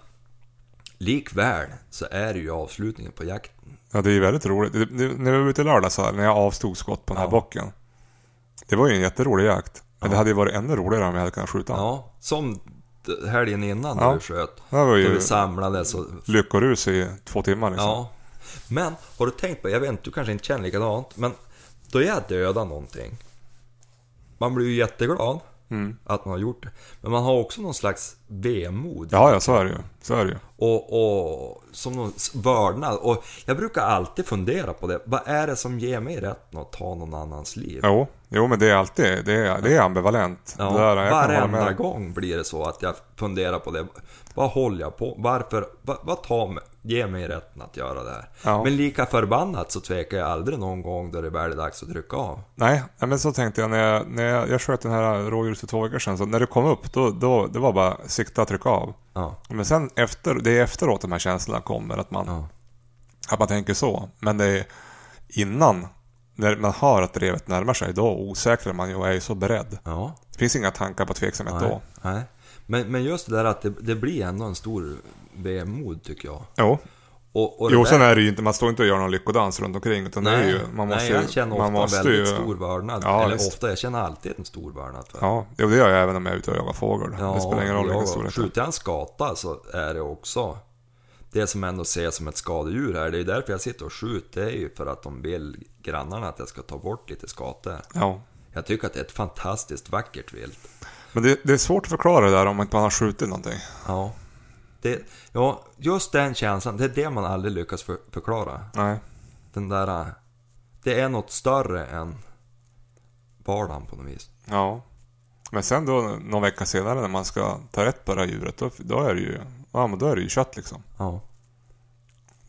B: likväl så är det ju avslutningen på jakten.
A: Ja, det är ju väldigt roligt. Det, det, när vi var ute i lördags här, när jag avstod skott på den här
B: Ja.
A: bocken. Det var ju en jätterolig jakt. Men det hade ju varit ännu roligare om jag hade kunnat skjuta. Ja.
B: Ja, som d- helgen innan
A: Ja.
B: när du sköt.
A: Det var
B: Då
A: ju Mm.
B: vi samlades och...
A: lyckorus i två timmar liksom. Ja.
B: Ja. Men har du tänkt på, jag vet inte, du kanske inte känner likadant, men då jag dödar någonting. Man blir ju jätteglad
A: Mm.
B: att man har gjort det. Men man har också någon slags vemod.
A: ja, ja, så är det ju. Så är det ju.
B: Och, och som någon s- vördnad. Och jag brukar alltid fundera på det. Vad är det som ger mig rätten att ta någon annans liv?
A: Jo, jo men det är alltid, det är, det är ambivalent.
B: Ja,
A: det där, jag kan hålla
B: varenda
A: med.
B: gång blir det så att jag funderar på det. Vad håller jag på Varför? Vad, vad tar mig, ger mig rätten att göra det här?
A: Ja.
B: Men lika förbannat så tvekar jag aldrig någon gång då det väl är dags att trycka av.
A: Nej, nej, men så tänkte jag när jag, när jag, jag sköt den här rådjuret för två veckor sedan. Så när det kom upp, då, då, det var bara sikta, trycka av.
B: Ja,
A: Men sen efter, det är efteråt de här känslorna kommer. Att man,
B: ja,
A: Att man tänker så. Men det är innan, när man hör att drevet närmar sig, då osäkrar man ju och är ju så beredd.
B: ja.
A: Det finns inga tankar på tveksamhet då.
B: Nej, nej. Men, men just det där att det, det blir ändå en stor vemod tycker jag.
A: Jo,
B: Och, och det
A: jo
B: där-
A: sen är det ju inte, man står inte och gör någon lyckodans runt omkring. Utan det är ju, man måste
B: nej,
A: ju...
B: jag känner ofta
A: man måste
B: väldigt
A: ju,
B: stor vördnad.
A: Ja,
B: Eller
A: visst.
B: ofta, jag känner alltid en stor vördnad för.
A: Ja, jo, det gör jag även om jag är ute och jagar fågel. det spelar ingen roll
B: ja,
A: vilken storlek. det är.
B: Skjuter jag en skata så är det också det som ändå ses som ett skadedjur här. Det är därför jag sitter och skjuter. Det är ju för att de vill grannarna att jag ska ta bort lite skator.
A: Ja.
B: Jag tycker att det är ett fantastiskt vackert vilt.
A: Men det, det är svårt att förklara det där om inte man har skjutit någonting.
B: Ja. Det, ja, just den känslan, det är det man aldrig lyckas för, förklara.
A: Nej.
B: Den där... äh, Det är något större än vardagen på något vis.
A: Ja. Men sen då någon vecka senare när man ska ta rätt på det här djuret, då, då är det ju... Ja, men då är det ju kött liksom.
B: Ja.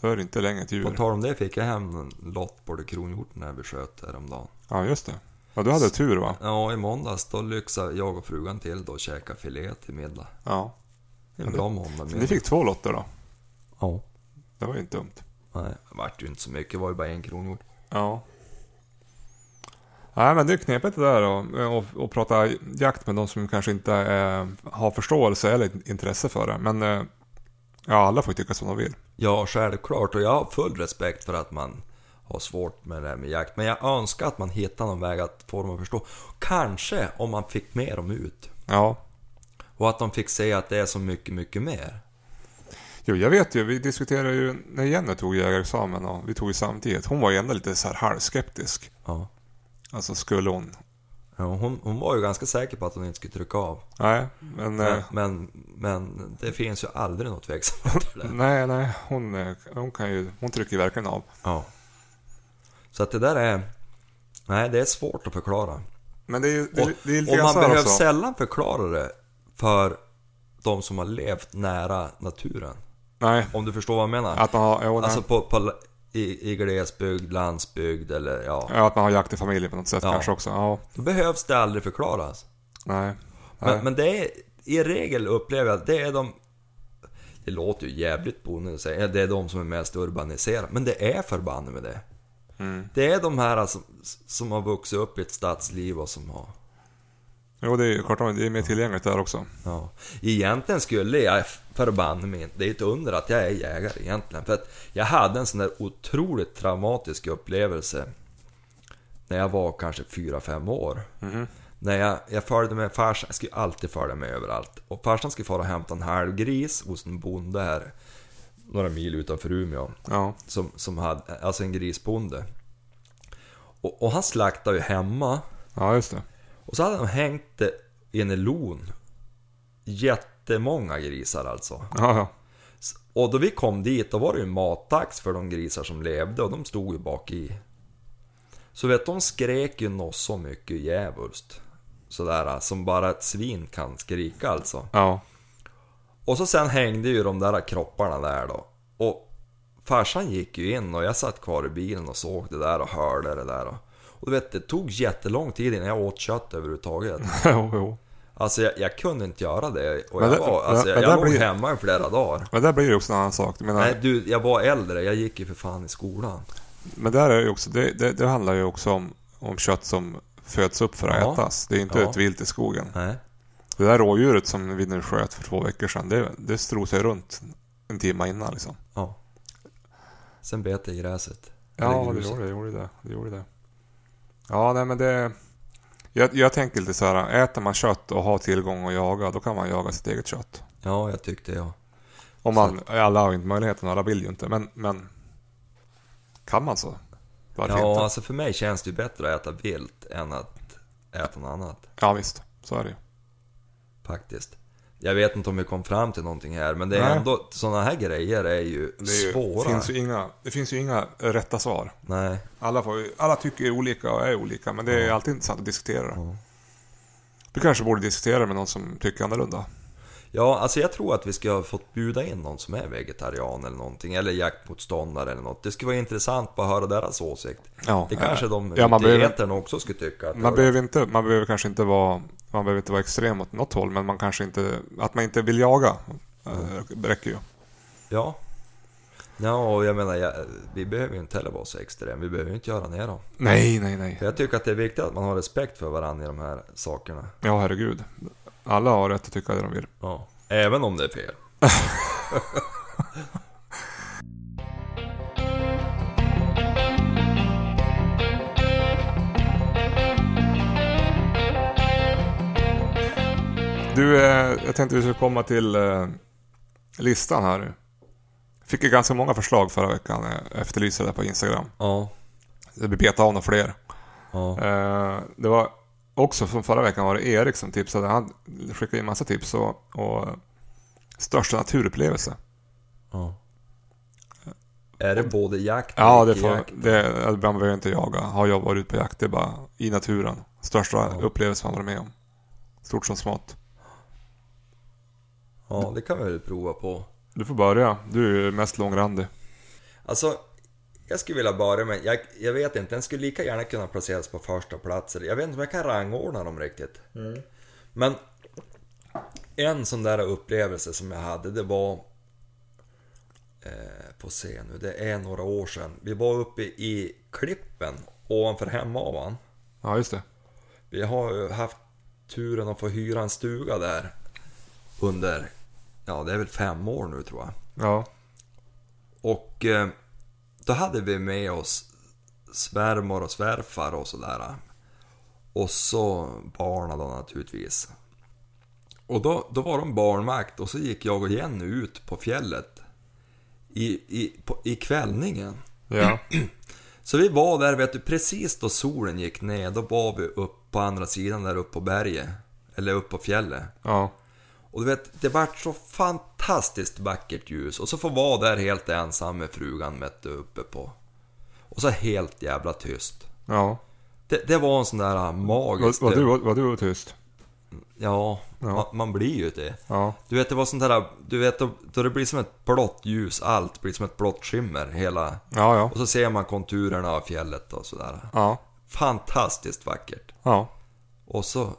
A: Då är det inte längre ett djur.
B: På tal om det fick jag hem en lott på det kronhjorten när vi sköt häromdagen.
A: Ja, just det. Ja, du hade tur va?
B: Ja, i måndags då lyxade jag och frugan till då och käkade filé till middag.
A: Ja.
B: En bra måndag
A: Ni fick två lotter då?
B: Ja.
A: Det var ju inte dumt.
B: Nej, det vart ju inte så mycket. Det var ju bara en kronor.
A: Ja. Nej, men det är knepigt det där och, och, och prata jakt med de som kanske inte eh, har förståelse eller intresse för det. Men eh, ja, alla får ju tycka som de vill.
B: Ja, självklart. Och jag har full respekt för att man har svårt med det här med jakt. Men jag önskar att man hittar någon väg att få dem att förstå. Kanske om man fick med dem ut.
A: Ja.
B: Och att de fick se att det är så mycket, mycket mer.
A: Jo, jag vet ju. Vi diskuterade ju när Jenny tog jägarexamen och vi tog ju samtidigt. Hon var ju ändå lite så här halvskeptisk.
B: Ja.
A: Alltså skulle hon?
B: Ja, hon, hon var ju ganska säker på att hon inte skulle trycka av.
A: Nej, men... eh,
B: Men, men, men det finns ju aldrig något tveksamt för det.
A: Nej, nej. Hon, eh, hon kan ju... Hon trycker ju verkligen av.
B: Ja. Så att det där är... Nej, det är svårt att förklara.
A: Men det är ju... Det,
B: Och,
A: är- det är lite
B: och
A: grann
B: man
A: så här
B: behöver
A: också.
B: sällan förklara det för de som har levt nära naturen.
A: Nej.
B: Om du förstår vad jag menar?
A: Att man har... Jo, nej.
B: alltså på, på, i, i glesbygd, landsbygd eller ja.
A: Ja, att man har jakt i familjen på något sätt
B: Ja.
A: kanske också. Ja.
B: Då behövs det aldrig förklaras.
A: Nej. nej.
B: Men, men det är, i regel upplever jag att det är de... Det låter ju jävligt bonde att säga, det är de som är mest urbaniserade. Men det är förbanne med det. Det är de här som, som har vuxit upp i ett stadsliv och som har...
A: Jo, det är ju klart. Det är mer tillgängligt där också.
B: Ja. Egentligen skulle jag förbanne mig inte. Det är ett under att jag är jägare egentligen. För att jag hade en sån där otroligt traumatisk upplevelse. När jag var kanske 4-5 år. När jag, jag följde med farsan, jag skulle alltid följa med överallt. Och farsan skulle fara och hämta en halvgris hos en bonde här. Några mil utanför Umeå
A: Ja.
B: som, som hade, alltså en grisbonde. Och, och han slaktade ju hemma.
A: Ja, just det.
B: Och så hade de hängt det i en elon. Jättemånga grisar alltså.
A: Ja, ja.
B: S- Och då vi kom dit, då var det ju mattax för de grisar som levde och de stod ju bak i. Så vet de skrek ju något så mycket djävulskt. Sådär eh, som bara ett svin kan skrika alltså.
A: Ja.
B: Och så sen hängde ju de där kropparna där då. Och farsan gick ju in och jag satt kvar i bilen och såg det där och hörde det där. Och, och du vet, det tog jättelång tid innan jag åt kött överhuvudtaget.
A: jo, jo. Alltså,
B: Alltså jag, jag kunde inte göra det. Och
A: Men
B: jag,
A: det-
B: var, alltså,
A: men-
B: jag,
A: men
B: jag
A: där
B: låg
A: blir-
B: hemma i flera dagar.
A: Men där blir det ju också en annan sak. Jag menar,
B: Nej du, jag var äldre. Jag gick ju för fan i skolan.
A: Men där är det, ju också, det, det, det handlar ju också om, om kött som föds upp för att
B: Ja.
A: ätas. Det är inte
B: Ja.
A: ett vilt i skogen.
B: Nej.
A: Det där rådjuret som vi nu sköt för två veckor sedan, det, det strosade ju runt en timme innan. Liksom.
B: Ja. Sen bet jag i gräset. Eller
A: Ja, det
B: gruset.
A: gjorde det. det, gjorde det, det, gjorde det. Ja, nej men det... Jag, jag tänker lite så här, äter man kött och har tillgång att jaga, då kan man jaga sitt eget kött.
B: Ja, jag tyckte jag.
A: Om man, alla har ju inte möjligheten, alla vill ju inte, men... men kan man så? Varför
B: Ja,
A: inte?
B: alltså för mig känns det ju bättre att äta vilt än att äta något annat.
A: Ja, visst. Så är det ju.
B: faktiskt. Jag vet inte om vi kom fram till någonting här, men det är
A: Nej.
B: ändå, sådana här grejer är ju
A: Det, är ju,
B: svåra.
A: finns ju inga, det finns ju inga rätta svar.
B: Nej,
A: Alla, får, ju- alla tycker ju olika och är olika, men det är alltid intressant att diskutera det.
B: Ja.
A: Du kanske borde diskutera med någon som tycker annorlunda.
B: ja alltså jag tror att vi ska ha fått bjuda in någon som är vegetarian eller någonting, eller jaktmotståndare eller något. Det skulle vara intressant bara att höra deras åsikt.
A: Ja,
B: Det kanske de
A: ja, man behöver-
B: myndigheterna också skulle tycka. Att det
A: Man
B: var-
A: behöver, inte, man behöver kanske inte vara man behöver inte vara extrem åt något håll, men man kanske inte, att man inte vill jaga eh, räcker ju.
B: Ja. Ja, och jag menar, jag, vi behöver ju inte heller vara så extrema. Vi behöver ju inte göra ner dem.
A: Nej, nej, nej.
B: Jag tycker att det är viktigt att man har respekt för varandra i de här sakerna.
A: Ja, herregud. Alla har rätt att tycka det de vill.
B: Ja. Även om det är fel.
A: Du, eh, jag tänkte vi skulle komma till eh, listan här nu. Fick ju ganska många förslag förra veckan, eh, efterlyste det på Instagram.
B: Ja.
A: Vi betar av några fler.
B: Ja.
A: Eh, det var också från förra veckan var det Erik som tipsade. Han skickade in massa tips och, och eh, största naturupplevelse.
B: Ja. Är det både jakt och
A: Ja, det får,
B: icke-jakt?
A: det, alltså, man behöver inte jaga. Har jag varit ute på jakt, det är bara i naturen. Största upplevelse man varit med om. Stort som smått.
B: Ja, det kan vi väl prova på.
A: Du får börja. Du är ju mest långrandig.
B: Alltså, Jag skulle vilja börja med, jag, jag vet inte, den skulle lika gärna kunna placeras på första plats. eller Jag vet inte om jag kan rangordna dem riktigt. Men en sån där upplevelse som jag hade, det var... Eh, på se nu, det är några år sedan. Vi var uppe i Klippen ovanför Hemavan.
A: Ja, just det.
B: Vi har ju haft turen att få hyra en stuga där under, ja det är väl fem år nu tror jag.
A: Ja.
B: Och eh, då hade vi med oss svärmor och svärfar och sådär. Och så barnen då naturligtvis. Och då, då var de barnvakt och så gick jag och Jenny ut på fjället i, i, på, i kvällningen.
A: Ja.
B: Så vi var där, vet du, precis då solen gick ner, då var vi upp på andra sidan där uppe på berget. Eller upp på fjället.
A: ja.
B: Och du vet, det vart så fantastiskt vackert ljus. Och så får vara där helt ensam med frugan vet du, uppe på. Och så helt jävla tyst.
A: Ja.
B: Det, det var en sån där äh,
A: Var,
B: magisk...
A: var, du, var, var du tyst?
B: Ja, Man, man blir ju det.
A: Ja.
B: Du vet, det var sånt där, du vet, då, då det blir som ett blått ljus, allt blir som ett blått skimmer hela...
A: Ja, ja.
B: Och så ser man konturerna av fjället och sådär.
A: Ja.
B: Fantastiskt vackert.
A: Ja.
B: Och så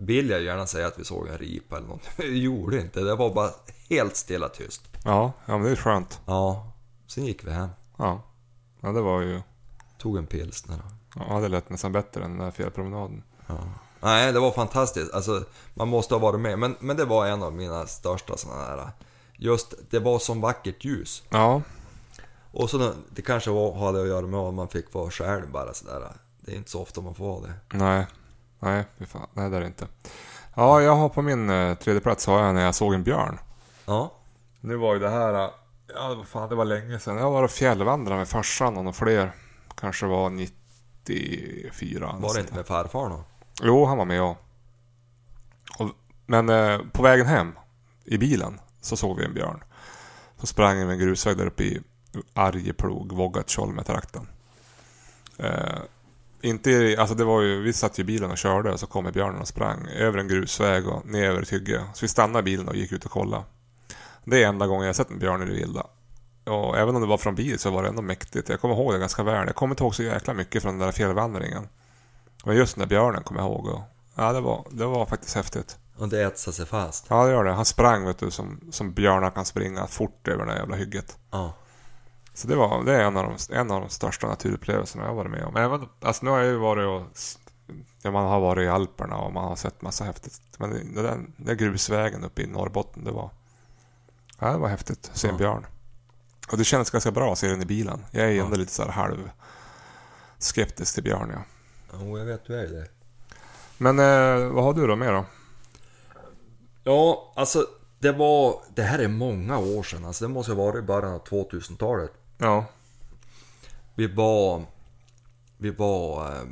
B: vill jag gärna säga att vi såg en ripa eller något. Vi gjorde inte, det var bara helt stilla tyst.
A: Ja. Ja, men det är skönt.
B: Ja, sen gick vi hem.
A: Ja. Ja, det var ju...
B: Tog en pilsner.
A: Ja, det lät nästan bättre än den där fjällpromenaden.
B: Nej, det var fantastiskt. Alltså, man måste ha varit med. Men, men det var en av mina största sådana här... Just, det var som vackert ljus.
A: Ja.
B: Och så det kanske var, hade att göra med att man fick vara själv bara sådär. Det är inte så ofta man får vara det.
A: Nej. Nej, fy fan. Nej, det är det inte. Ja, jag har på min eh, tredje plats har jag när jag såg en björn.
B: Ja,
A: Nu var ju det här... eh, Ja, vad fan, det var länge sedan. Jag var och fjällvandrade med farsan och några fler. Kanske var 94.
B: var det inte med farfar då?
A: Jo, han var med jag. Och, men eh, på vägen hem i bilen så såg vi en björn. Så sprang vi en grusväg där uppe i Arjeplog, Vågatjolmetrakten. Eh, inte, i- alltså det var ju, vi satt ju i bilen och körde och så kom björnen och sprang över en grusväg och ner över ett hygge. Så vi stannade bilen och gick ut och kollade. Det är enda gången jag sett en björn i det vilda. Och även om det var från bil så var det ändå mäktigt. Jag kommer ihåg det ganska väl. Jag kommer inte ihåg så jäkla mycket från den där fjällvandringen. Men just den där björnen kommer jag ihåg. Och, ja, det var, det var faktiskt häftigt.
B: Och det etsade sig fast.
A: Ja, det gör det. Han sprang vet du, som, som björnar kan springa fort över det där jävla hygget.
B: Ja.
A: Så det, var, det är en av, de, en av de största naturupplevelserna jag har varit med om. Även, alltså, nu har jag ju varit och... Ja, man har varit i Alperna och man har sett massa häftigt. Men den där, den där grusvägen uppe i Norrbotten, det var... Ja, det var häftigt att se en
B: Ja.
A: björn. Och det kändes ganska bra att se den i bilen. Jag är ju ändå lite så här halv skeptisk till björn, ja.
B: Jo, jag vet du är ju det.
A: Men eh, vad har du då med då?
B: Ja, alltså det var... Det här är många år sedan. Alltså det måste ha varit i början av 2000-talet.
A: Ja.
B: Vi var, vi var eh,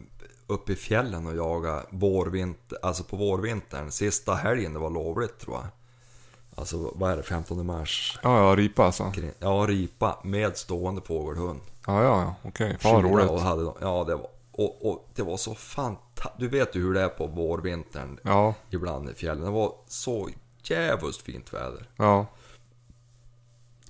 B: uppe i fjällen och jagade vårvinter, alltså på vårvintern. Sista helgen det var lovligt tror jag. Alltså vad är det, 15 mars?
A: Ja, ja, ripa alltså.
B: Kring- Ja, ripa med stående fågelhund.
A: Ja, ja, ja. Okej. Fan vad
B: Skida Och
A: roligt.
B: hade, de- ja, det var, och, och det var så fantastiskt. Du vet ju hur det är på vårvintern
A: Ja,
B: ibland i fjällen. Det var så jävligt fint väder.
A: ja,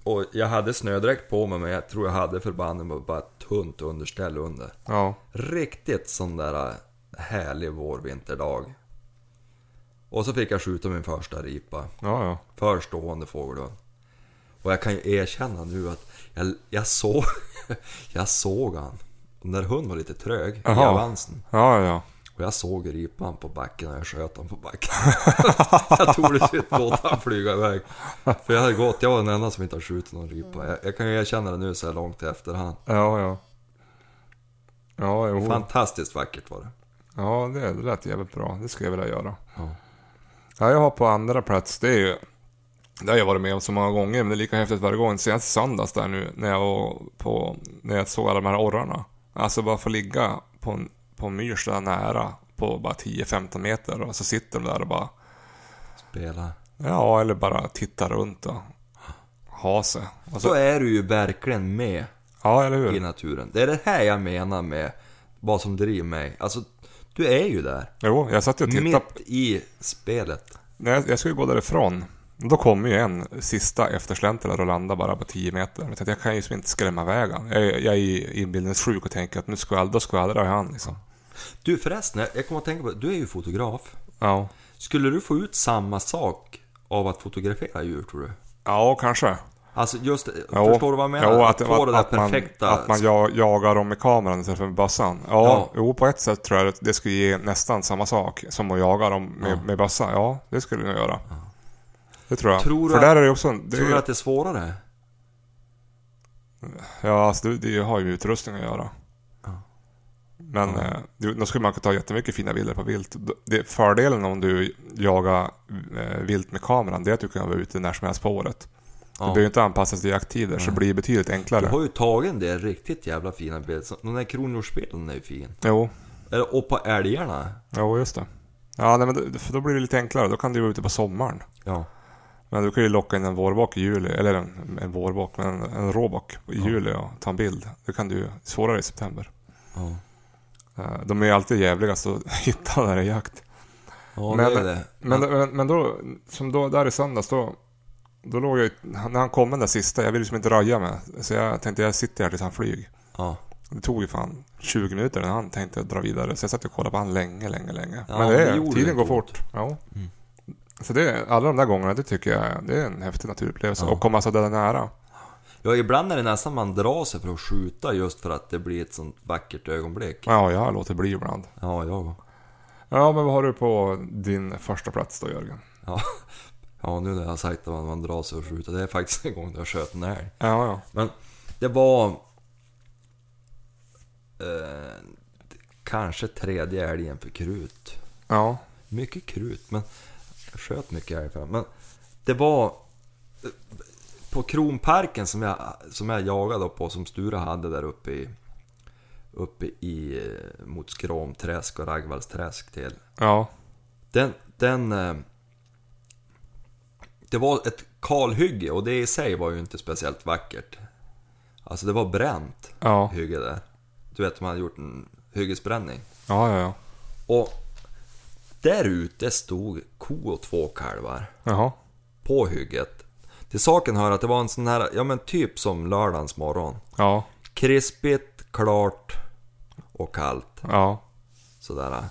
B: Och jag hade snödräkt på mig men jag tror jag hade förbanden med bara ett tunt underställ under.
A: ja.
B: Riktigt sån där äh, härlig vårvinterdag. Och så fick jag skjuta min första ripa.
A: Ja, ja.
B: Förstående fågelhund. Och jag kan ju erkänna nu att jag, jag såg... jag såg han. Och när hunden var lite trög i
A: Jaha.
B: avansen.
A: Ja, ja,
B: Och jag såg ripan på backen och jag sköt honom på backen. jag tog det sitt låt han flyga iväg. För jag hade gått, jag var den enda som inte har skjutit någon ripa. Jag, jag kan ju erkänna det nu så här långt i efterhand.
A: ja. Ja, ja. Ja, jo.
B: Fantastiskt vackert var det.
A: Ja, det, det lät jävligt bra. Det skulle jag vilja göra.
B: Ja.
A: Ja, jag har på andra plats, det är ju... Det har jag varit med om så många gånger, men det är lika häftigt varje gång. Senast i söndags där nu, när jag var på... När jag såg alla de här orrarna. Alltså bara få ligga på en, på en myr sådär nära, på bara 10-15 meter. Och så sitter de där och bara...
B: Spela.
A: Ja, eller bara titta runt och ha sig. Och
B: Så
A: så,
B: är du ju verkligen med
A: ja, eller
B: i
A: hur?
B: naturen. Det är det här jag menar med vad som driver mig. Alltså, du är ju där.
A: Jo, jag satt ju och tittade.
B: Mitt i spelet.
A: Nej, jag- jag skulle gå därifrån. Men Då kommer ju en sista eftersläntrare och landar bara på 10 meter. Jag tänkte, jag kan ju liksom inte skrämma iväg han. Jag, jag är ju inbildningssjuk och tänker att nu skvallrar, skvallrar han liksom.
B: Du förresten, jag kommer att tänka på Du är ju fotograf.
A: Ja.
B: Skulle du få ut samma sak av att fotografera djur tror du?
A: Ja, kanske.
B: Alltså just,
A: Ja.
B: förstår du vad jag menar?
A: Jo,
B: att, få det där
A: att man,
B: perfekta...
A: Att man ja- jagar dem med kameran istället för med bössan. Ja,
B: Ja.
A: jo på ett sätt tror jag att det skulle ge nästan samma sak som att jaga dem med, med bössa. Ja, det skulle det nog göra. Det tror jag.
B: Tror du
A: för
B: att-
A: där är det också... en- Det,
B: Tror du att det är svårare?
A: Ja, alltså det, det har ju med utrustning att göra.
B: Ja.
A: Men eh, det- då skulle man kunna ta jättemycket fina bilder på vilt. Det, fördelen om du jagar eh, vilt med kameran, det är att du kan vara ute när som helst på året. Du
B: Ja.
A: behöver ju inte anpassa sig till jakttider, så det blir betydligt
B: Du
A: enklare.
B: har ju tagit en del riktigt jävla fina bilder. Så- Den där kronhjortsbilden är ju fin.
A: Jo,
B: Eller, och på älgarna.
A: Jo, just det. Ja, nej, men då, för då blir det lite enklare. Då kan du vara ute på sommaren.
B: Ja.
A: Men du kan ju locka in en vårbock i juli, eller en, en vårbock, men en, en råbock i juli och ta en bild. Det kan du svårare i september.
B: Ja,
A: Eh, De är ju alltid jävligast att hitta när det är jakt.
B: ja
A: Men-
B: det är det.
A: Men, men, men då, som då, där i söndags då, då låg jag ju- när han kom den där sista, jag ville liksom inte röja mig. Så jag tänkte jag sitter här tills han flyger.
B: Ja.
A: Det tog ju fan 20 minuter när han tänkte dra vidare. Så jag satt och kollade på han länge, länge, länge. men
B: Ja, men
A: det,
B: det gjorde
A: är, tiden
B: inte
A: går
B: ont.
A: fort. Ja.
B: Mm.
A: Så det, alla de där gångerna, det tycker jag det är en häftig naturupplevelse.
B: Ja.
A: Och komma så där nära.
B: ja, ibland är det nästan man drar sig för att skjuta just för att det blir ett sånt vackert ögonblick.
A: Ja, jag har låtit bli ibland.
B: Ja, jag
A: Ja, men vad har du på din första plats då Jörgen?
B: Ja. ja, nu när jag har sagt att man, man drar sig för att skjuta. Det är faktiskt en gång när jag sköt en älg.
A: Ja, ja.
B: Men det var... Eh, kanske tredje älgen för krut.
A: Ja,
B: Mycket krut, men jag sköt mycket härifrån. Men det var eh, på Kronparken som jag, som jag jagade då på, som Sture hade där uppe i... Uppe i... eh, Mot Skromträsk och Raggvallsträsk till.
A: ja.
B: Den... den eh, det var ett kalhygge och det i sig var ju inte speciellt vackert. Alltså det var bränt
A: Ja,
B: hygge där. Du vet, man hade gjort en hyggesbränning.
A: ja, ja. ja.
B: Och där ute stod ko och två kalvar
A: Jaha.
B: på hygget. Till saken hör att det var en sån här, ja men typ som lördagens morgon.
A: Ja,
B: Krispigt, klart och kallt.
A: ja.
B: Sådär.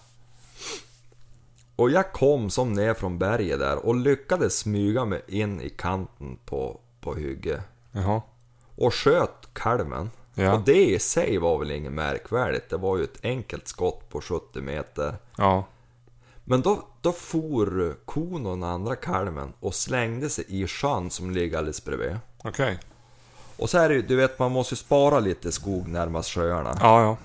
B: Och jag kom som ner från berget där och lyckades smyga mig in i kanten på, på hygget.
A: Jaha.
B: Och sköt kalven.
A: Ja.
B: Och det i sig var väl inget märkvärdigt. Det var ju ett enkelt skott på 70 meter.
A: Ja.
B: Men då, då for kon och den andra kalven och slängde sig i sjön som ligger alldeles bredvid.
A: Okej.
B: Och så är det ju, du vet man måste ju spara lite skog närmast sjöarna.
A: Ja, ja.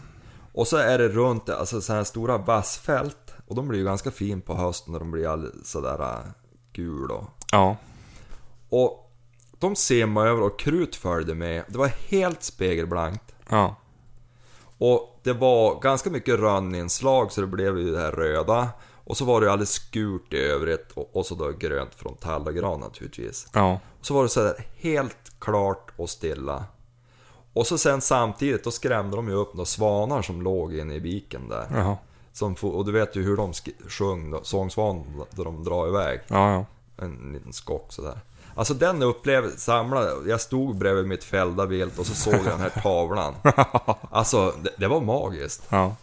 B: Och så är det runt, alltså så här stora vassfält. Och de blir ju ganska fin på hösten när de blir all sådär äh, gul då.
A: Ja.
B: Och de simmade över och krut följde med. Det var helt spegelblankt.
A: Ja.
B: Och det var ganska mycket rönninslag så det blev ju det här röda. Och så var det ju alldeles skurt i övrigt och, och så då grönt från tall och gran naturligtvis.
A: Ja.
B: Och så var det så där helt klart och stilla. Och så sen samtidigt, då skrämde de ju upp några svanar som låg inne i viken där.
A: Jaha.
B: Som, for- och du vet ju hur de sk- sjöng då, sångsvanen då de drar iväg.
A: Ja, ja.
B: En liten skock sådär. Alltså den upplevelsen samlade, jag stod bredvid mitt fällda vilt och så såg jag den här tavlan. Alltså det, det var magiskt.
A: Ja.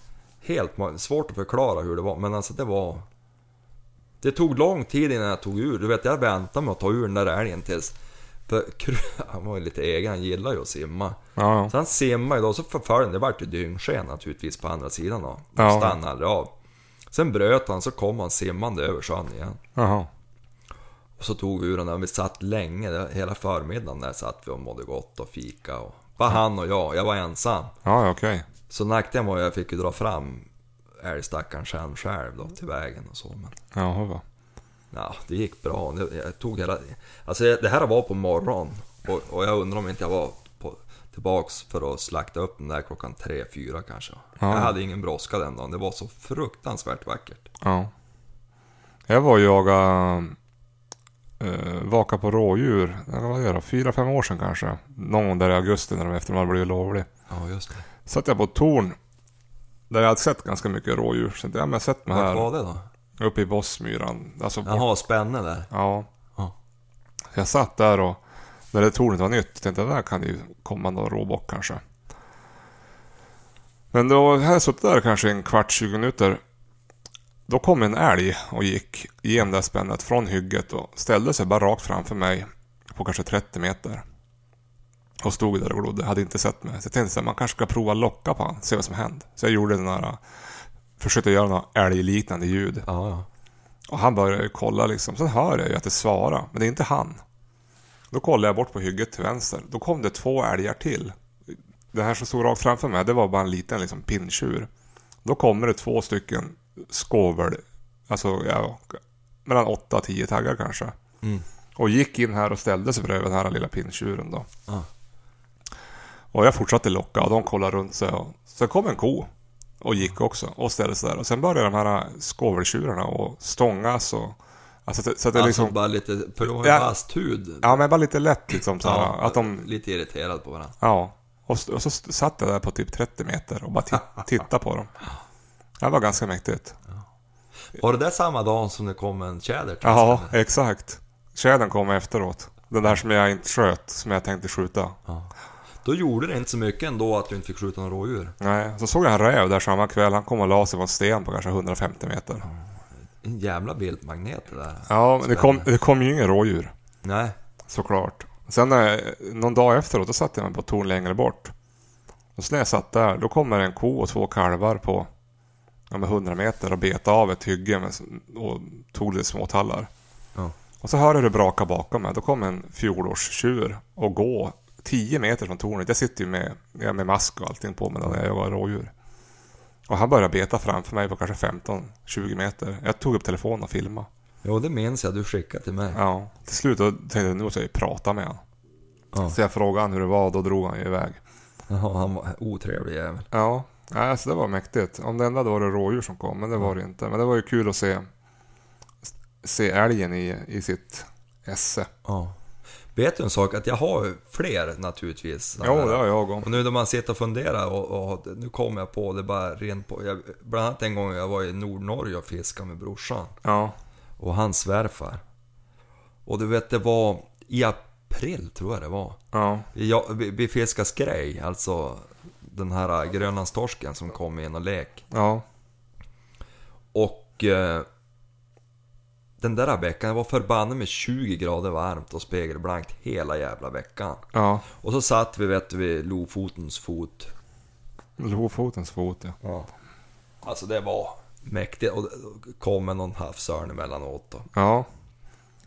B: Helt ma- svårt att förklara hur det var, men alltså det var... Det tog lång tid innan jag tog ur, du vet jag väntade med att ta ur den där älgen tills... För Kru- han var ju lite egen, han gillar ju att simma.
A: Ja, ja.
B: Så han simmade ju då, så förföljde han, det vart ju dyngsken naturligtvis på andra sidan då. De
A: Ja.
B: stannade aldrig av. Sen bröt han, så kom han simmande över sjön igen.
A: Jaha.
B: Och så tog vi ur den där, vi satt länge, det- hela förmiddagen där satt vi och mådde gott och fika och... Bara han och jag, jag var ensam.
A: Ja, ja, okej.
B: Så nackdelen var ju att jag fick ju dra fram älgstackaren sen själv då till vägen och så. Men
A: Jaha, va.
B: ja, det gick bra. Det- Jag tog hela... Alltså jag- det här var på morgonen och, och jag undrar om inte jag var på, tillbaks för att slakta upp den där klockan tre, fyra kanske. Jag hade ingen brådska den dagen. Det var så fruktansvärt vackert.
A: Ja. Jag var och jagade eh, vaka på rådjur, eller vad är det, då? fyra, fem år sedan kanske. Någon gång där i augusti när de efter de hade blivit lovlig.
B: Ja, just det.
A: Satt jag på ett torn där jag hade sett ganska mycket rådjur. Så tänkte jag, men jag sett mig
B: Vart
A: här
B: var det då?
A: uppe i Bossmyran. Alltså, bort-
B: Jaha, spännande där.
A: ja.
B: Ja.
A: Jag satt där och när det tornet var nytt tänkte jag där kan det ju komma någon råbock kanske. Men då hade jag suttit där kanske en kvart, 20 minuter. Då kom en älg och gick genom det här spännet från hygget och ställde sig bara rakt framför mig på kanske 30 meter. Och stod där och glodde, hade inte sett mig. Så jag tänkte att man kanske ska prova att locka på honom, se vad som händer. Så jag gjorde den här, försökte göra något älgliknande ljud.
B: Ja, ja.
A: Och han börjar ju kolla liksom. Sen hör jag ju att det svarar, men det är inte han. Då kollar jag bort på hygget till vänster. Då kom det två älgar till. Det här som stod rakt framför mig, det var bara en liten liksom, pinntjur. Då kommer det två stycken skovel, alltså ja, mellan 8 och 10 taggar kanske.
B: Mm.
A: Och gick in här och ställde sig bredvid den här lilla pinntjuren då.
B: Ja.
A: Och jag fortsatte locka och de kollade runt sig. Och... Sen kom en ko och
B: Ah.
A: gick också och ställde sig där. Och sen började de här skoveltjurarna och stångas och... Alltså, så att det- så att det
B: Alltså
A: liksom...
B: bara lite, för de har
A: Ja.
B: ju vass hud.
A: Ja, men bara lite lätt liksom så här, Att de...
B: Lite irriterad på varandra.
A: Ja. Och, s- och så s- satt jag där på typ 30 meter och bara ti- tittade på dem. Det var ganska mäktigt.
B: Var det där samma dag som det kom en tjäder till
A: Ja,
B: oss?
A: exakt. Tjädern kom efteråt. Den där som jag inte sköt, som jag tänkte skjuta.
B: Då gjorde det inte så mycket ändå att du inte fick skjuta några rådjur.
A: Nej, så såg jag en räv där samma kväll. Han kom och la sig på en sten på kanske 150 meter.
B: En jävla bildmagnet det där.
A: Ja, men det kom, det kom ju ingen rådjur.
B: Nej.
A: Såklart. Sen eh, någon dag efteråt, då satte jag mig på ett torn längre bort. Och så när jag satt där, då kommer en ko och två kalvar på ja, med 100 meter och bet av ett hygge med, och tog lite småtallar.
B: Ja.
A: Och så hör jag det braka bakom mig. Då kom en fjolårstjur och gå 10 meter från tornet. Jag sitter ju med, ja, med mask och allting på mig när jag jagar rådjur. Och han började beta framför mig på kanske 15-20 meter. Jag tog upp telefonen och filmade.
B: Jo, det minns jag. Du skickade till mig.
A: Ja, till slut då tänkte jag nu måste jag ju prata med honom.
B: Ja.
A: Så jag frågade han hur det var och då drog han ju iväg.
B: Ja, han var otrevlig jävel.
A: Ja, nej, alltså det var mäktigt. Om det enda hade varit rådjur som kom, men det var det inte. Men det var ju kul att se, se älgen i, i sitt esse.
B: Ja. Vet du en sak? Att jag har ju fler naturligtvis.
A: Jo, det har jag om.
B: Och nu när man sitter och funderar och, och nu kommer jag på det bara rent på. Jag, bland annat en gång jag var i Nordnorge och fiskade med brorsan
A: Ja,
B: och hans svärfar. Och du vet det var i april tror jag det var.
A: ja,
B: Ja, vi, vi fiskade skrej, alltså den här grönlandstorsken som kom in och lek.
A: ja,
B: Och eh, den där veckan, det var förbannat med 20 grader varmt och spegelblankt hela jävla veckan.
A: ja.
B: Och så satt vi vet du, vid Lofotens fot.
A: Lovfotens fot, ja.
B: Alltså det var mäktigt och det kom med någon havsörn emellanåt. Då.
A: Ja,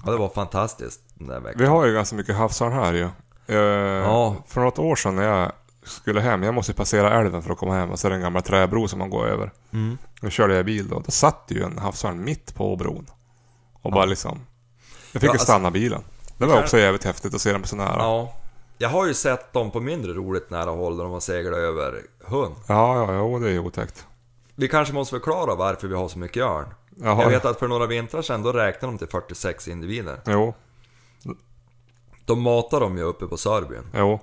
B: Ja, det var fantastiskt den där veckan.
A: vi har ju ganska mycket havsörn här ju. Eh,
B: Ja.
A: För något år sedan när jag skulle hem, jag måste ju passera älven för att komma hem och så är det en gammal träbro som man går över.
B: Mm.
A: Då körde jag bil då. Då satt ju en havsörn mitt på bron. Och bara liksom... Jag fick
B: Ja,
A: ju
B: alltså-
A: stanna bilen. Det var också jävligt häftigt att se den på så nära. Ja,
B: Ja. Jag har ju sett dem på mindre roligt nära håll när de har seglat över hund.
A: ja, ja jo, det är ju otäckt.
B: Vi kanske måste förklara varför vi har så mycket örn.
A: Jaha.
B: Jag vet att för några vintrar sedan då räknade de till 46 individer.
A: Jo,
B: De matar dem ju uppe på Sörbyn.
A: jo.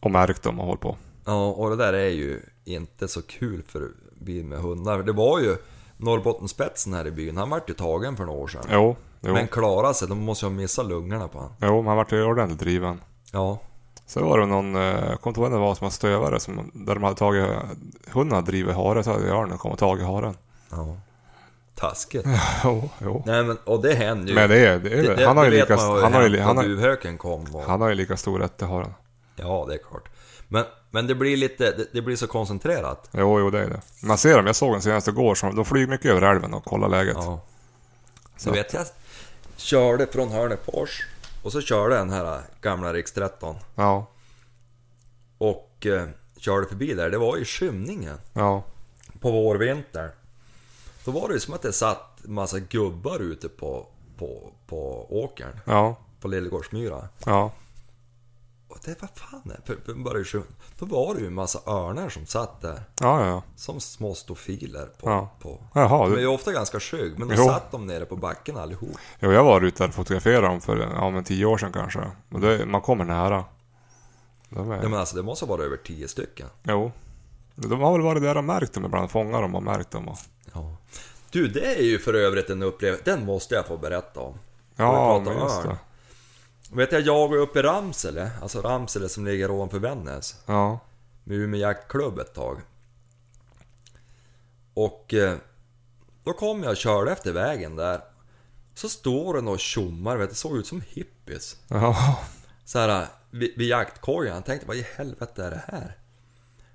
A: Och märkt dem och håll på.
B: Ja, och det där är ju inte så kul för vi med hundar. Det var ju Norrbottenspetsen här i byn, han vart ju tagen för några år sedan.
A: Jo, jo.
B: Men klara sig, de måste ju ha missat lungorna på han.
A: Jo, men han vart ju ordentligt driven.
B: Ja,
A: Så var det någon, eh, jag kommer inte ihåg vem det var, som var stövare. Som, där de hade tagit, hunden hade drivit hare så hade örnen kommit och tagit haren.
B: ja. Taskigt.
A: Jo, jo.
B: Nej men, och det händer ju.
A: Men det är, det är
B: Det- det-
A: han har ju
B: det vet
A: lika,
B: man vad
A: han har ju,
B: hänt
A: han
B: när
A: har,
B: duvhöken kom och...
A: han har ju lika stor rätt till haren.
B: Ja, det är klart. Men, men det blir lite, det, det blir så koncentrerat.
A: Jo, jo det är det. Man ser dem, jag såg dem senast igår, så de flyger mycket över älven och kollar läget.
B: Ja. Så vet jag, körde från Hörnefors och så körde jag den här gamla Rix 13
A: Ja,
B: och eh, körde förbi där. Det var i skymningen
A: ja,
B: på vårvintern. Då var det ju som att det satt massa gubbar ute på, på, på åkern,
A: ja,
B: på Lillegårdsmyra.
A: ja,
B: Och det, vad fan är det? För- för Bara i skym- Då var det ju en massa örnar som satt där,
A: ja, ja. ja.
B: som små stofiler på,
A: Ja.
B: på
A: Jaha,
B: De är
A: du,
B: ju ofta ganska skygg, men då
A: Jo.
B: satt de nere på backen allihop.
A: jo, jag var ute där och fotograferade dem för ja, men tio år sedan kanske. Och det, man kommer nära. De är,
B: Nej men alltså det måste ha varit över tio stycken.
A: Jo. De har väl varit där och märkt dem ibland, fångat dem och märkt dem. Och,
B: Ja. Du, det är ju för övrigt en upplevelse, den måste jag få berätta om.
A: Ja,
B: vi pratar
A: men just
B: örn.
A: det.
B: Vet jag jagade uppe i Ramsele, alltså Ramsele som ligger ovanför Vännäs,
A: Ja.
B: med Umeå jaktklubb ett tag. Och eh, då kom jag och körde efter vägen där. Så står det och tjommar, vet du, såg ut som hippies.
A: Ja.
B: Så här eh, vid, vid jaktkojan, jag tänkte vad i helvete är det här?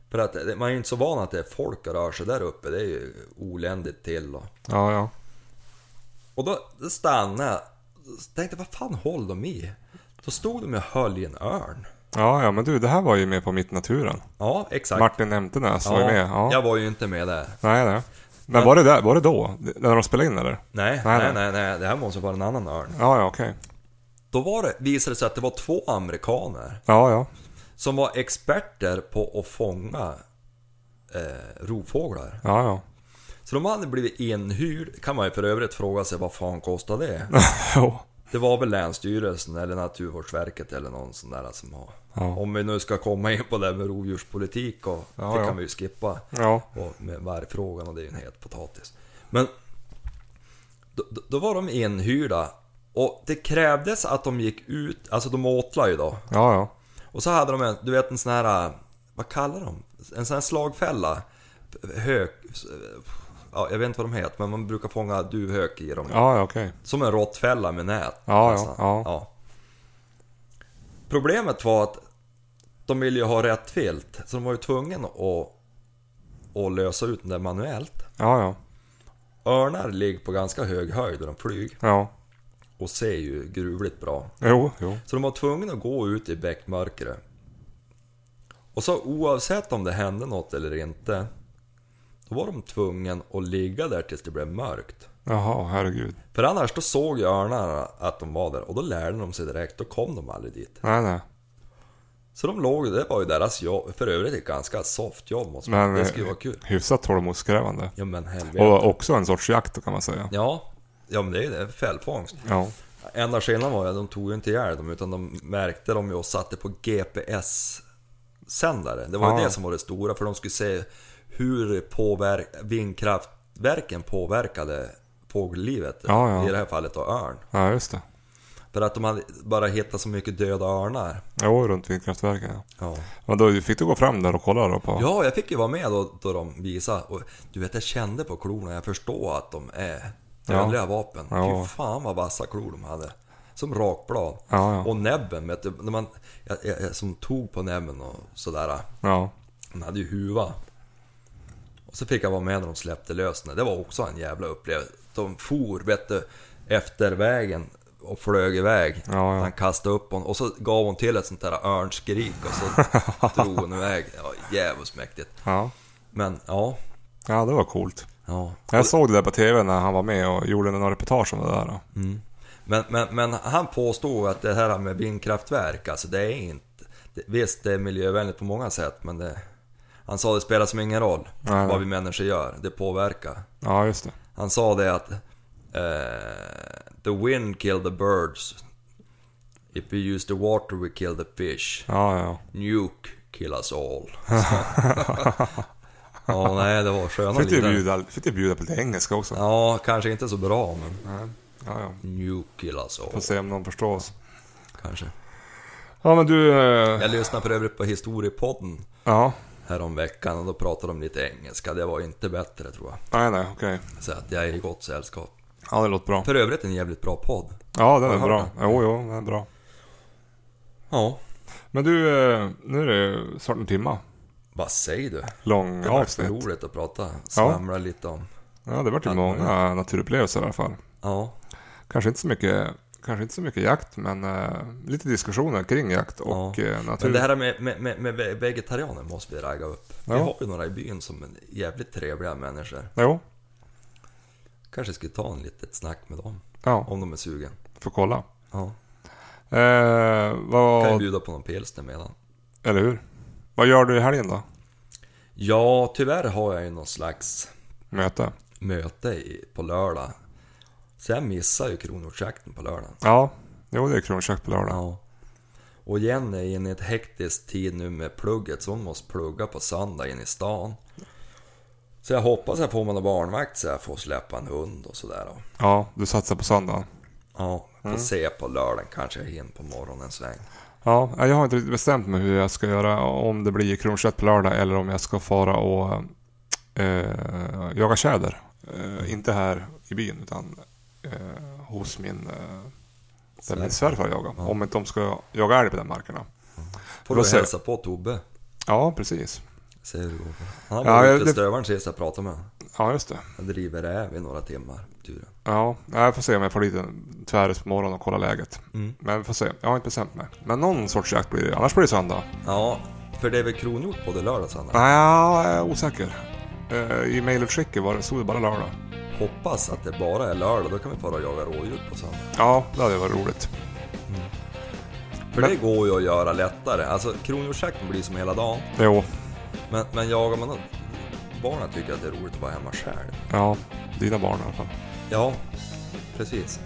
B: För att det- man är ju inte så van att det är folk och rör sig där uppe, det är ju oländigt till och...
A: Ja, ja.
B: Och då stannade jag. Tänkte vad fan håller de i? Då stod de och höll i en örn.
A: Ja, ja, men du, det här var ju med på Mitt Naturen.
B: Ja, exakt.
A: Martin Emtenäs var ju med. Ja.
B: Jag var ju inte med där.
A: Nej, nej. Men var det, där, var det då? När de spelade in eller?
B: Nej,
A: Nej,
B: nej, nej, nej, det här måste vara en annan örn.
A: Ja, ja, okej.
B: Då var det, visade det sig att det var två amerikaner
A: Ja, ja.
B: som var experter på att fånga eh, rovfåglar.
A: Ja, ja.
B: Så de hade blivit inhyrd, kan man ju för övrigt fråga sig vad fan kostar det?
A: Jo.
B: Det var väl Länsstyrelsen eller Naturvårdsverket eller någon sån där som har...
A: Ja.
B: Om vi nu ska komma in på det här med rovdjurspolitik och
A: Ja,
B: det
A: ja.
B: kan vi ju skippa.
A: Ja.
B: Och med vargfrågan och det är ju en het potatis. Men då, då- då var de inhyrda och det krävdes att de gick ut, alltså de åtlade ju då.
A: Ja, ja.
B: Och så hade de en, du vet en sån här, vad kallar de? En sån här slagfälla. Hök, ja, jag vet inte vad de heter men man brukar fånga duvhök i dem.
A: Ja, ja, okej.
B: Som en råttfälla med nät.
A: Ja,
B: nästan.
A: ja, ja.
B: Problemet var att de ville ju ha rätt filt, så de var ju tvungna att, att lösa ut den där manuellt.
A: Ja, ja.
B: Örnar ligger på ganska hög höjd och de flyger
A: Ja.
B: och ser ju gruvligt bra.
A: Jo, jo.
B: Så de var tvungna att gå ut i bäckmörkret. Och så oavsett om det hände något eller inte, då var de tvungna att ligga där tills det blev mörkt.
A: Jaha, herregud.
B: För annars då såg ju örnarna att de var där och då lärde de sig direkt, då kom de aldrig dit.
A: Nej, nej.
B: Så de låg, det var ju deras jobb, för övrigt ett ganska soft jobb måste man
A: Men
B: Det skulle
A: eh,
B: vara kul.
A: hyfsat tålamodskrävande.
B: Ja men helvete.
A: Och också en sorts jakt kan man säga.
B: Ja, ja men det är ju det, fällfångst.
A: Ja.
B: Enda skillnaden var ju att de tog ju inte ihjäl dem utan de märkte dem ju och satte på GPS-sändare. Det var ju
A: Ah.
B: det som var det stora för de skulle se hur påverk, vindkraftverken påverkade fågellivet.
A: Ja, Ah, ja.
B: I det här fallet då örn.
A: Ja, just det.
B: För att de hade bara hittat så mycket döda örnar.
A: Jo, runt vindkraftverken. Ja.
B: Ja.
A: Men då fick du gå fram där och kolla då på...
B: Ja, jag fick ju vara med då, då de visade. Och, du vet, jag kände på klorna, jag förstår att de är dödliga vapen.
A: Ja.
B: Fy fan vad vassa klor de hade. Som rakblad.
A: Ja, ja.
B: Och näbben, vet du, när man, jag, jag, jag, som tog på näbben och sådär.
A: Ja.
B: Han hade ju huva. Och så fick jag vara med när de släppte lös den. Det var också en jävla upplevelse. De for, vet du, efter vägen och flög iväg.
A: Ja, ja.
B: Han kastade upp hon och så gav hon till ett sånt där örnskrik och så drog hon iväg. Det var jävligt mäktigt.
A: Ja.
B: Men ja.
A: Ja, det var coolt.
B: ja.
A: Jag såg det där på TV när han var med och gjorde några reportage om det där. Då.
B: Men, men, men han påstod att det här med vindkraftverk, alltså det är inte... Det, visst, det är miljövänligt på många sätt, men det... Han sa det spelar som ingen roll
A: Nej, nej.
B: vad vi människor gör, det påverkar.
A: Ja, just det.
B: Han sa det att... eh, the wind killed the birds. If we use the water we kill the fish.
A: Ja, ja.
B: Nuke kill us all. Så. ja, nej, det var sköna
A: Fick du
B: lirare.
A: bjuda, fick du bjuda på lite engelska också? Ja,
B: Ja, kanske inte så bra, men...
A: ja.
B: Nuke kill us all,
A: Får se om någon förstår oss.
B: kanske.
A: Ja, men du... eh,
B: Jag lyssnade för övrigt på historiepodden
A: Ja.
B: häromveckan och då pratade de lite engelska. Det var inte bättre tror jag.
A: Nej, nej, okej.
B: Så att jag är i gott sällskap.
A: Ja, det låter bra.
B: För övrigt en jävligt bra podd.
A: Ja, den är
B: Har du
A: bra. Jo, jo, den är bra.
B: Ja.
A: Men du, eh, nu är det ju snart en timma
B: Vad säger du?
A: lång
B: Det var för
A: avsnitt.
B: roligt att prata, svamla lite om.
A: Ja, det vart ju
B: Allt
A: många naturupplevelser i alla fall.
B: Ja,
A: Kanske inte så mycket, kanske inte så mycket jakt, men eh, lite diskussioner kring jakt och
B: Ja.
A: eh, natur.
B: men det här med, med, med, med ve- vegetarianer måste vi ragga upp. Vi
A: Ja.
B: har ju några i byn som är jävligt trevliga människor.
A: Jo,
B: Kanske skulle ta en litet snack med dem,
A: ja,
B: om de är sugen.
A: får kolla.
B: Ja.
A: Eh, vad,
B: Kan ju bjuda på någon pilsner medan.
A: eller hur? Vad gör du i helgen då?
B: Ja, tyvärr har jag ju någon slags
A: Möte?
B: möte i, på lördag. Så jag missar ju kronhjortsjakten på lördagen.
A: Ja, jo det är kronkök på lördag.
B: Ja. Och Jenny är inne i ett hektiskt tid nu med plugget så hon måste plugga på söndag in i stan. Så jag hoppas jag får mig någon barnvakt så jag får släppa en hund och sådär. då.
A: Ja, du satsar på söndagen.
B: Ja, Får se på lördagen, kanske jag hinner på morgonen sväng.
A: Ja, jag har inte riktigt bestämt mig hur jag ska göra. Om det blir kronstjärt på lördag eller om jag ska fara och eh, jaga tjäder. Eh, inte här i byn utan eh, hos min, eh, där min svärfar jagar. Om inte de ska jaga älg på de markerna.
B: Får
A: Då
B: du
A: ser-
B: hälsa på Tobbe.
A: Ja, precis.
B: Se hur det går. Han
A: Ja,
B: var
A: jag-
B: ute
A: det-
B: det... stövaren sist jag pratade med.
A: Ja, just det.
B: Han driver räv i några timmar. Turen.
A: Ja, jag får se om jag får lite tväris på morgonen och kolla läget.
B: Mm.
A: Men vi får se. Jag har inte bestämt mig. Men någon sorts jakt blir det. Annars blir det söndag.
B: Ja, för det är väl kronhjort både lördag och söndag?
A: Nej, jag är osäker. Eh, I mejlutskicket var det- stod det bara lördag.
B: Hoppas att det bara är lördag, då kan vi fara och jaga rådjur på söndag.
A: Ja, det hade varit roligt.
B: För
A: Men-
B: det går ju att göra lättare. Alltså kronhjortsjakten blir som hela dagen.
A: Jo,
B: Men, men jagar man något- Barnen tycker att det är roligt att vara hemma själv.
A: ja. Dina barn i alla fall.
B: Ja, precis.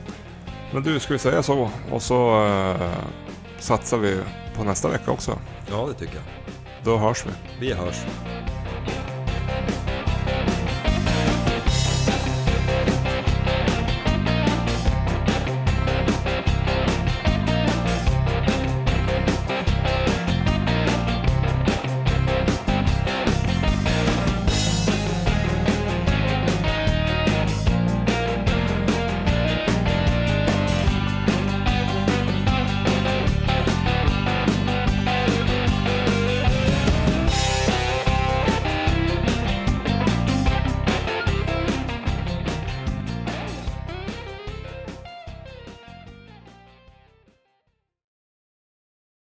A: Men du, ska vi säga så? Och så eh, satsar vi på nästa vecka också.
B: Ja, det tycker jag.
A: Då hörs vi.
B: Vi hörs.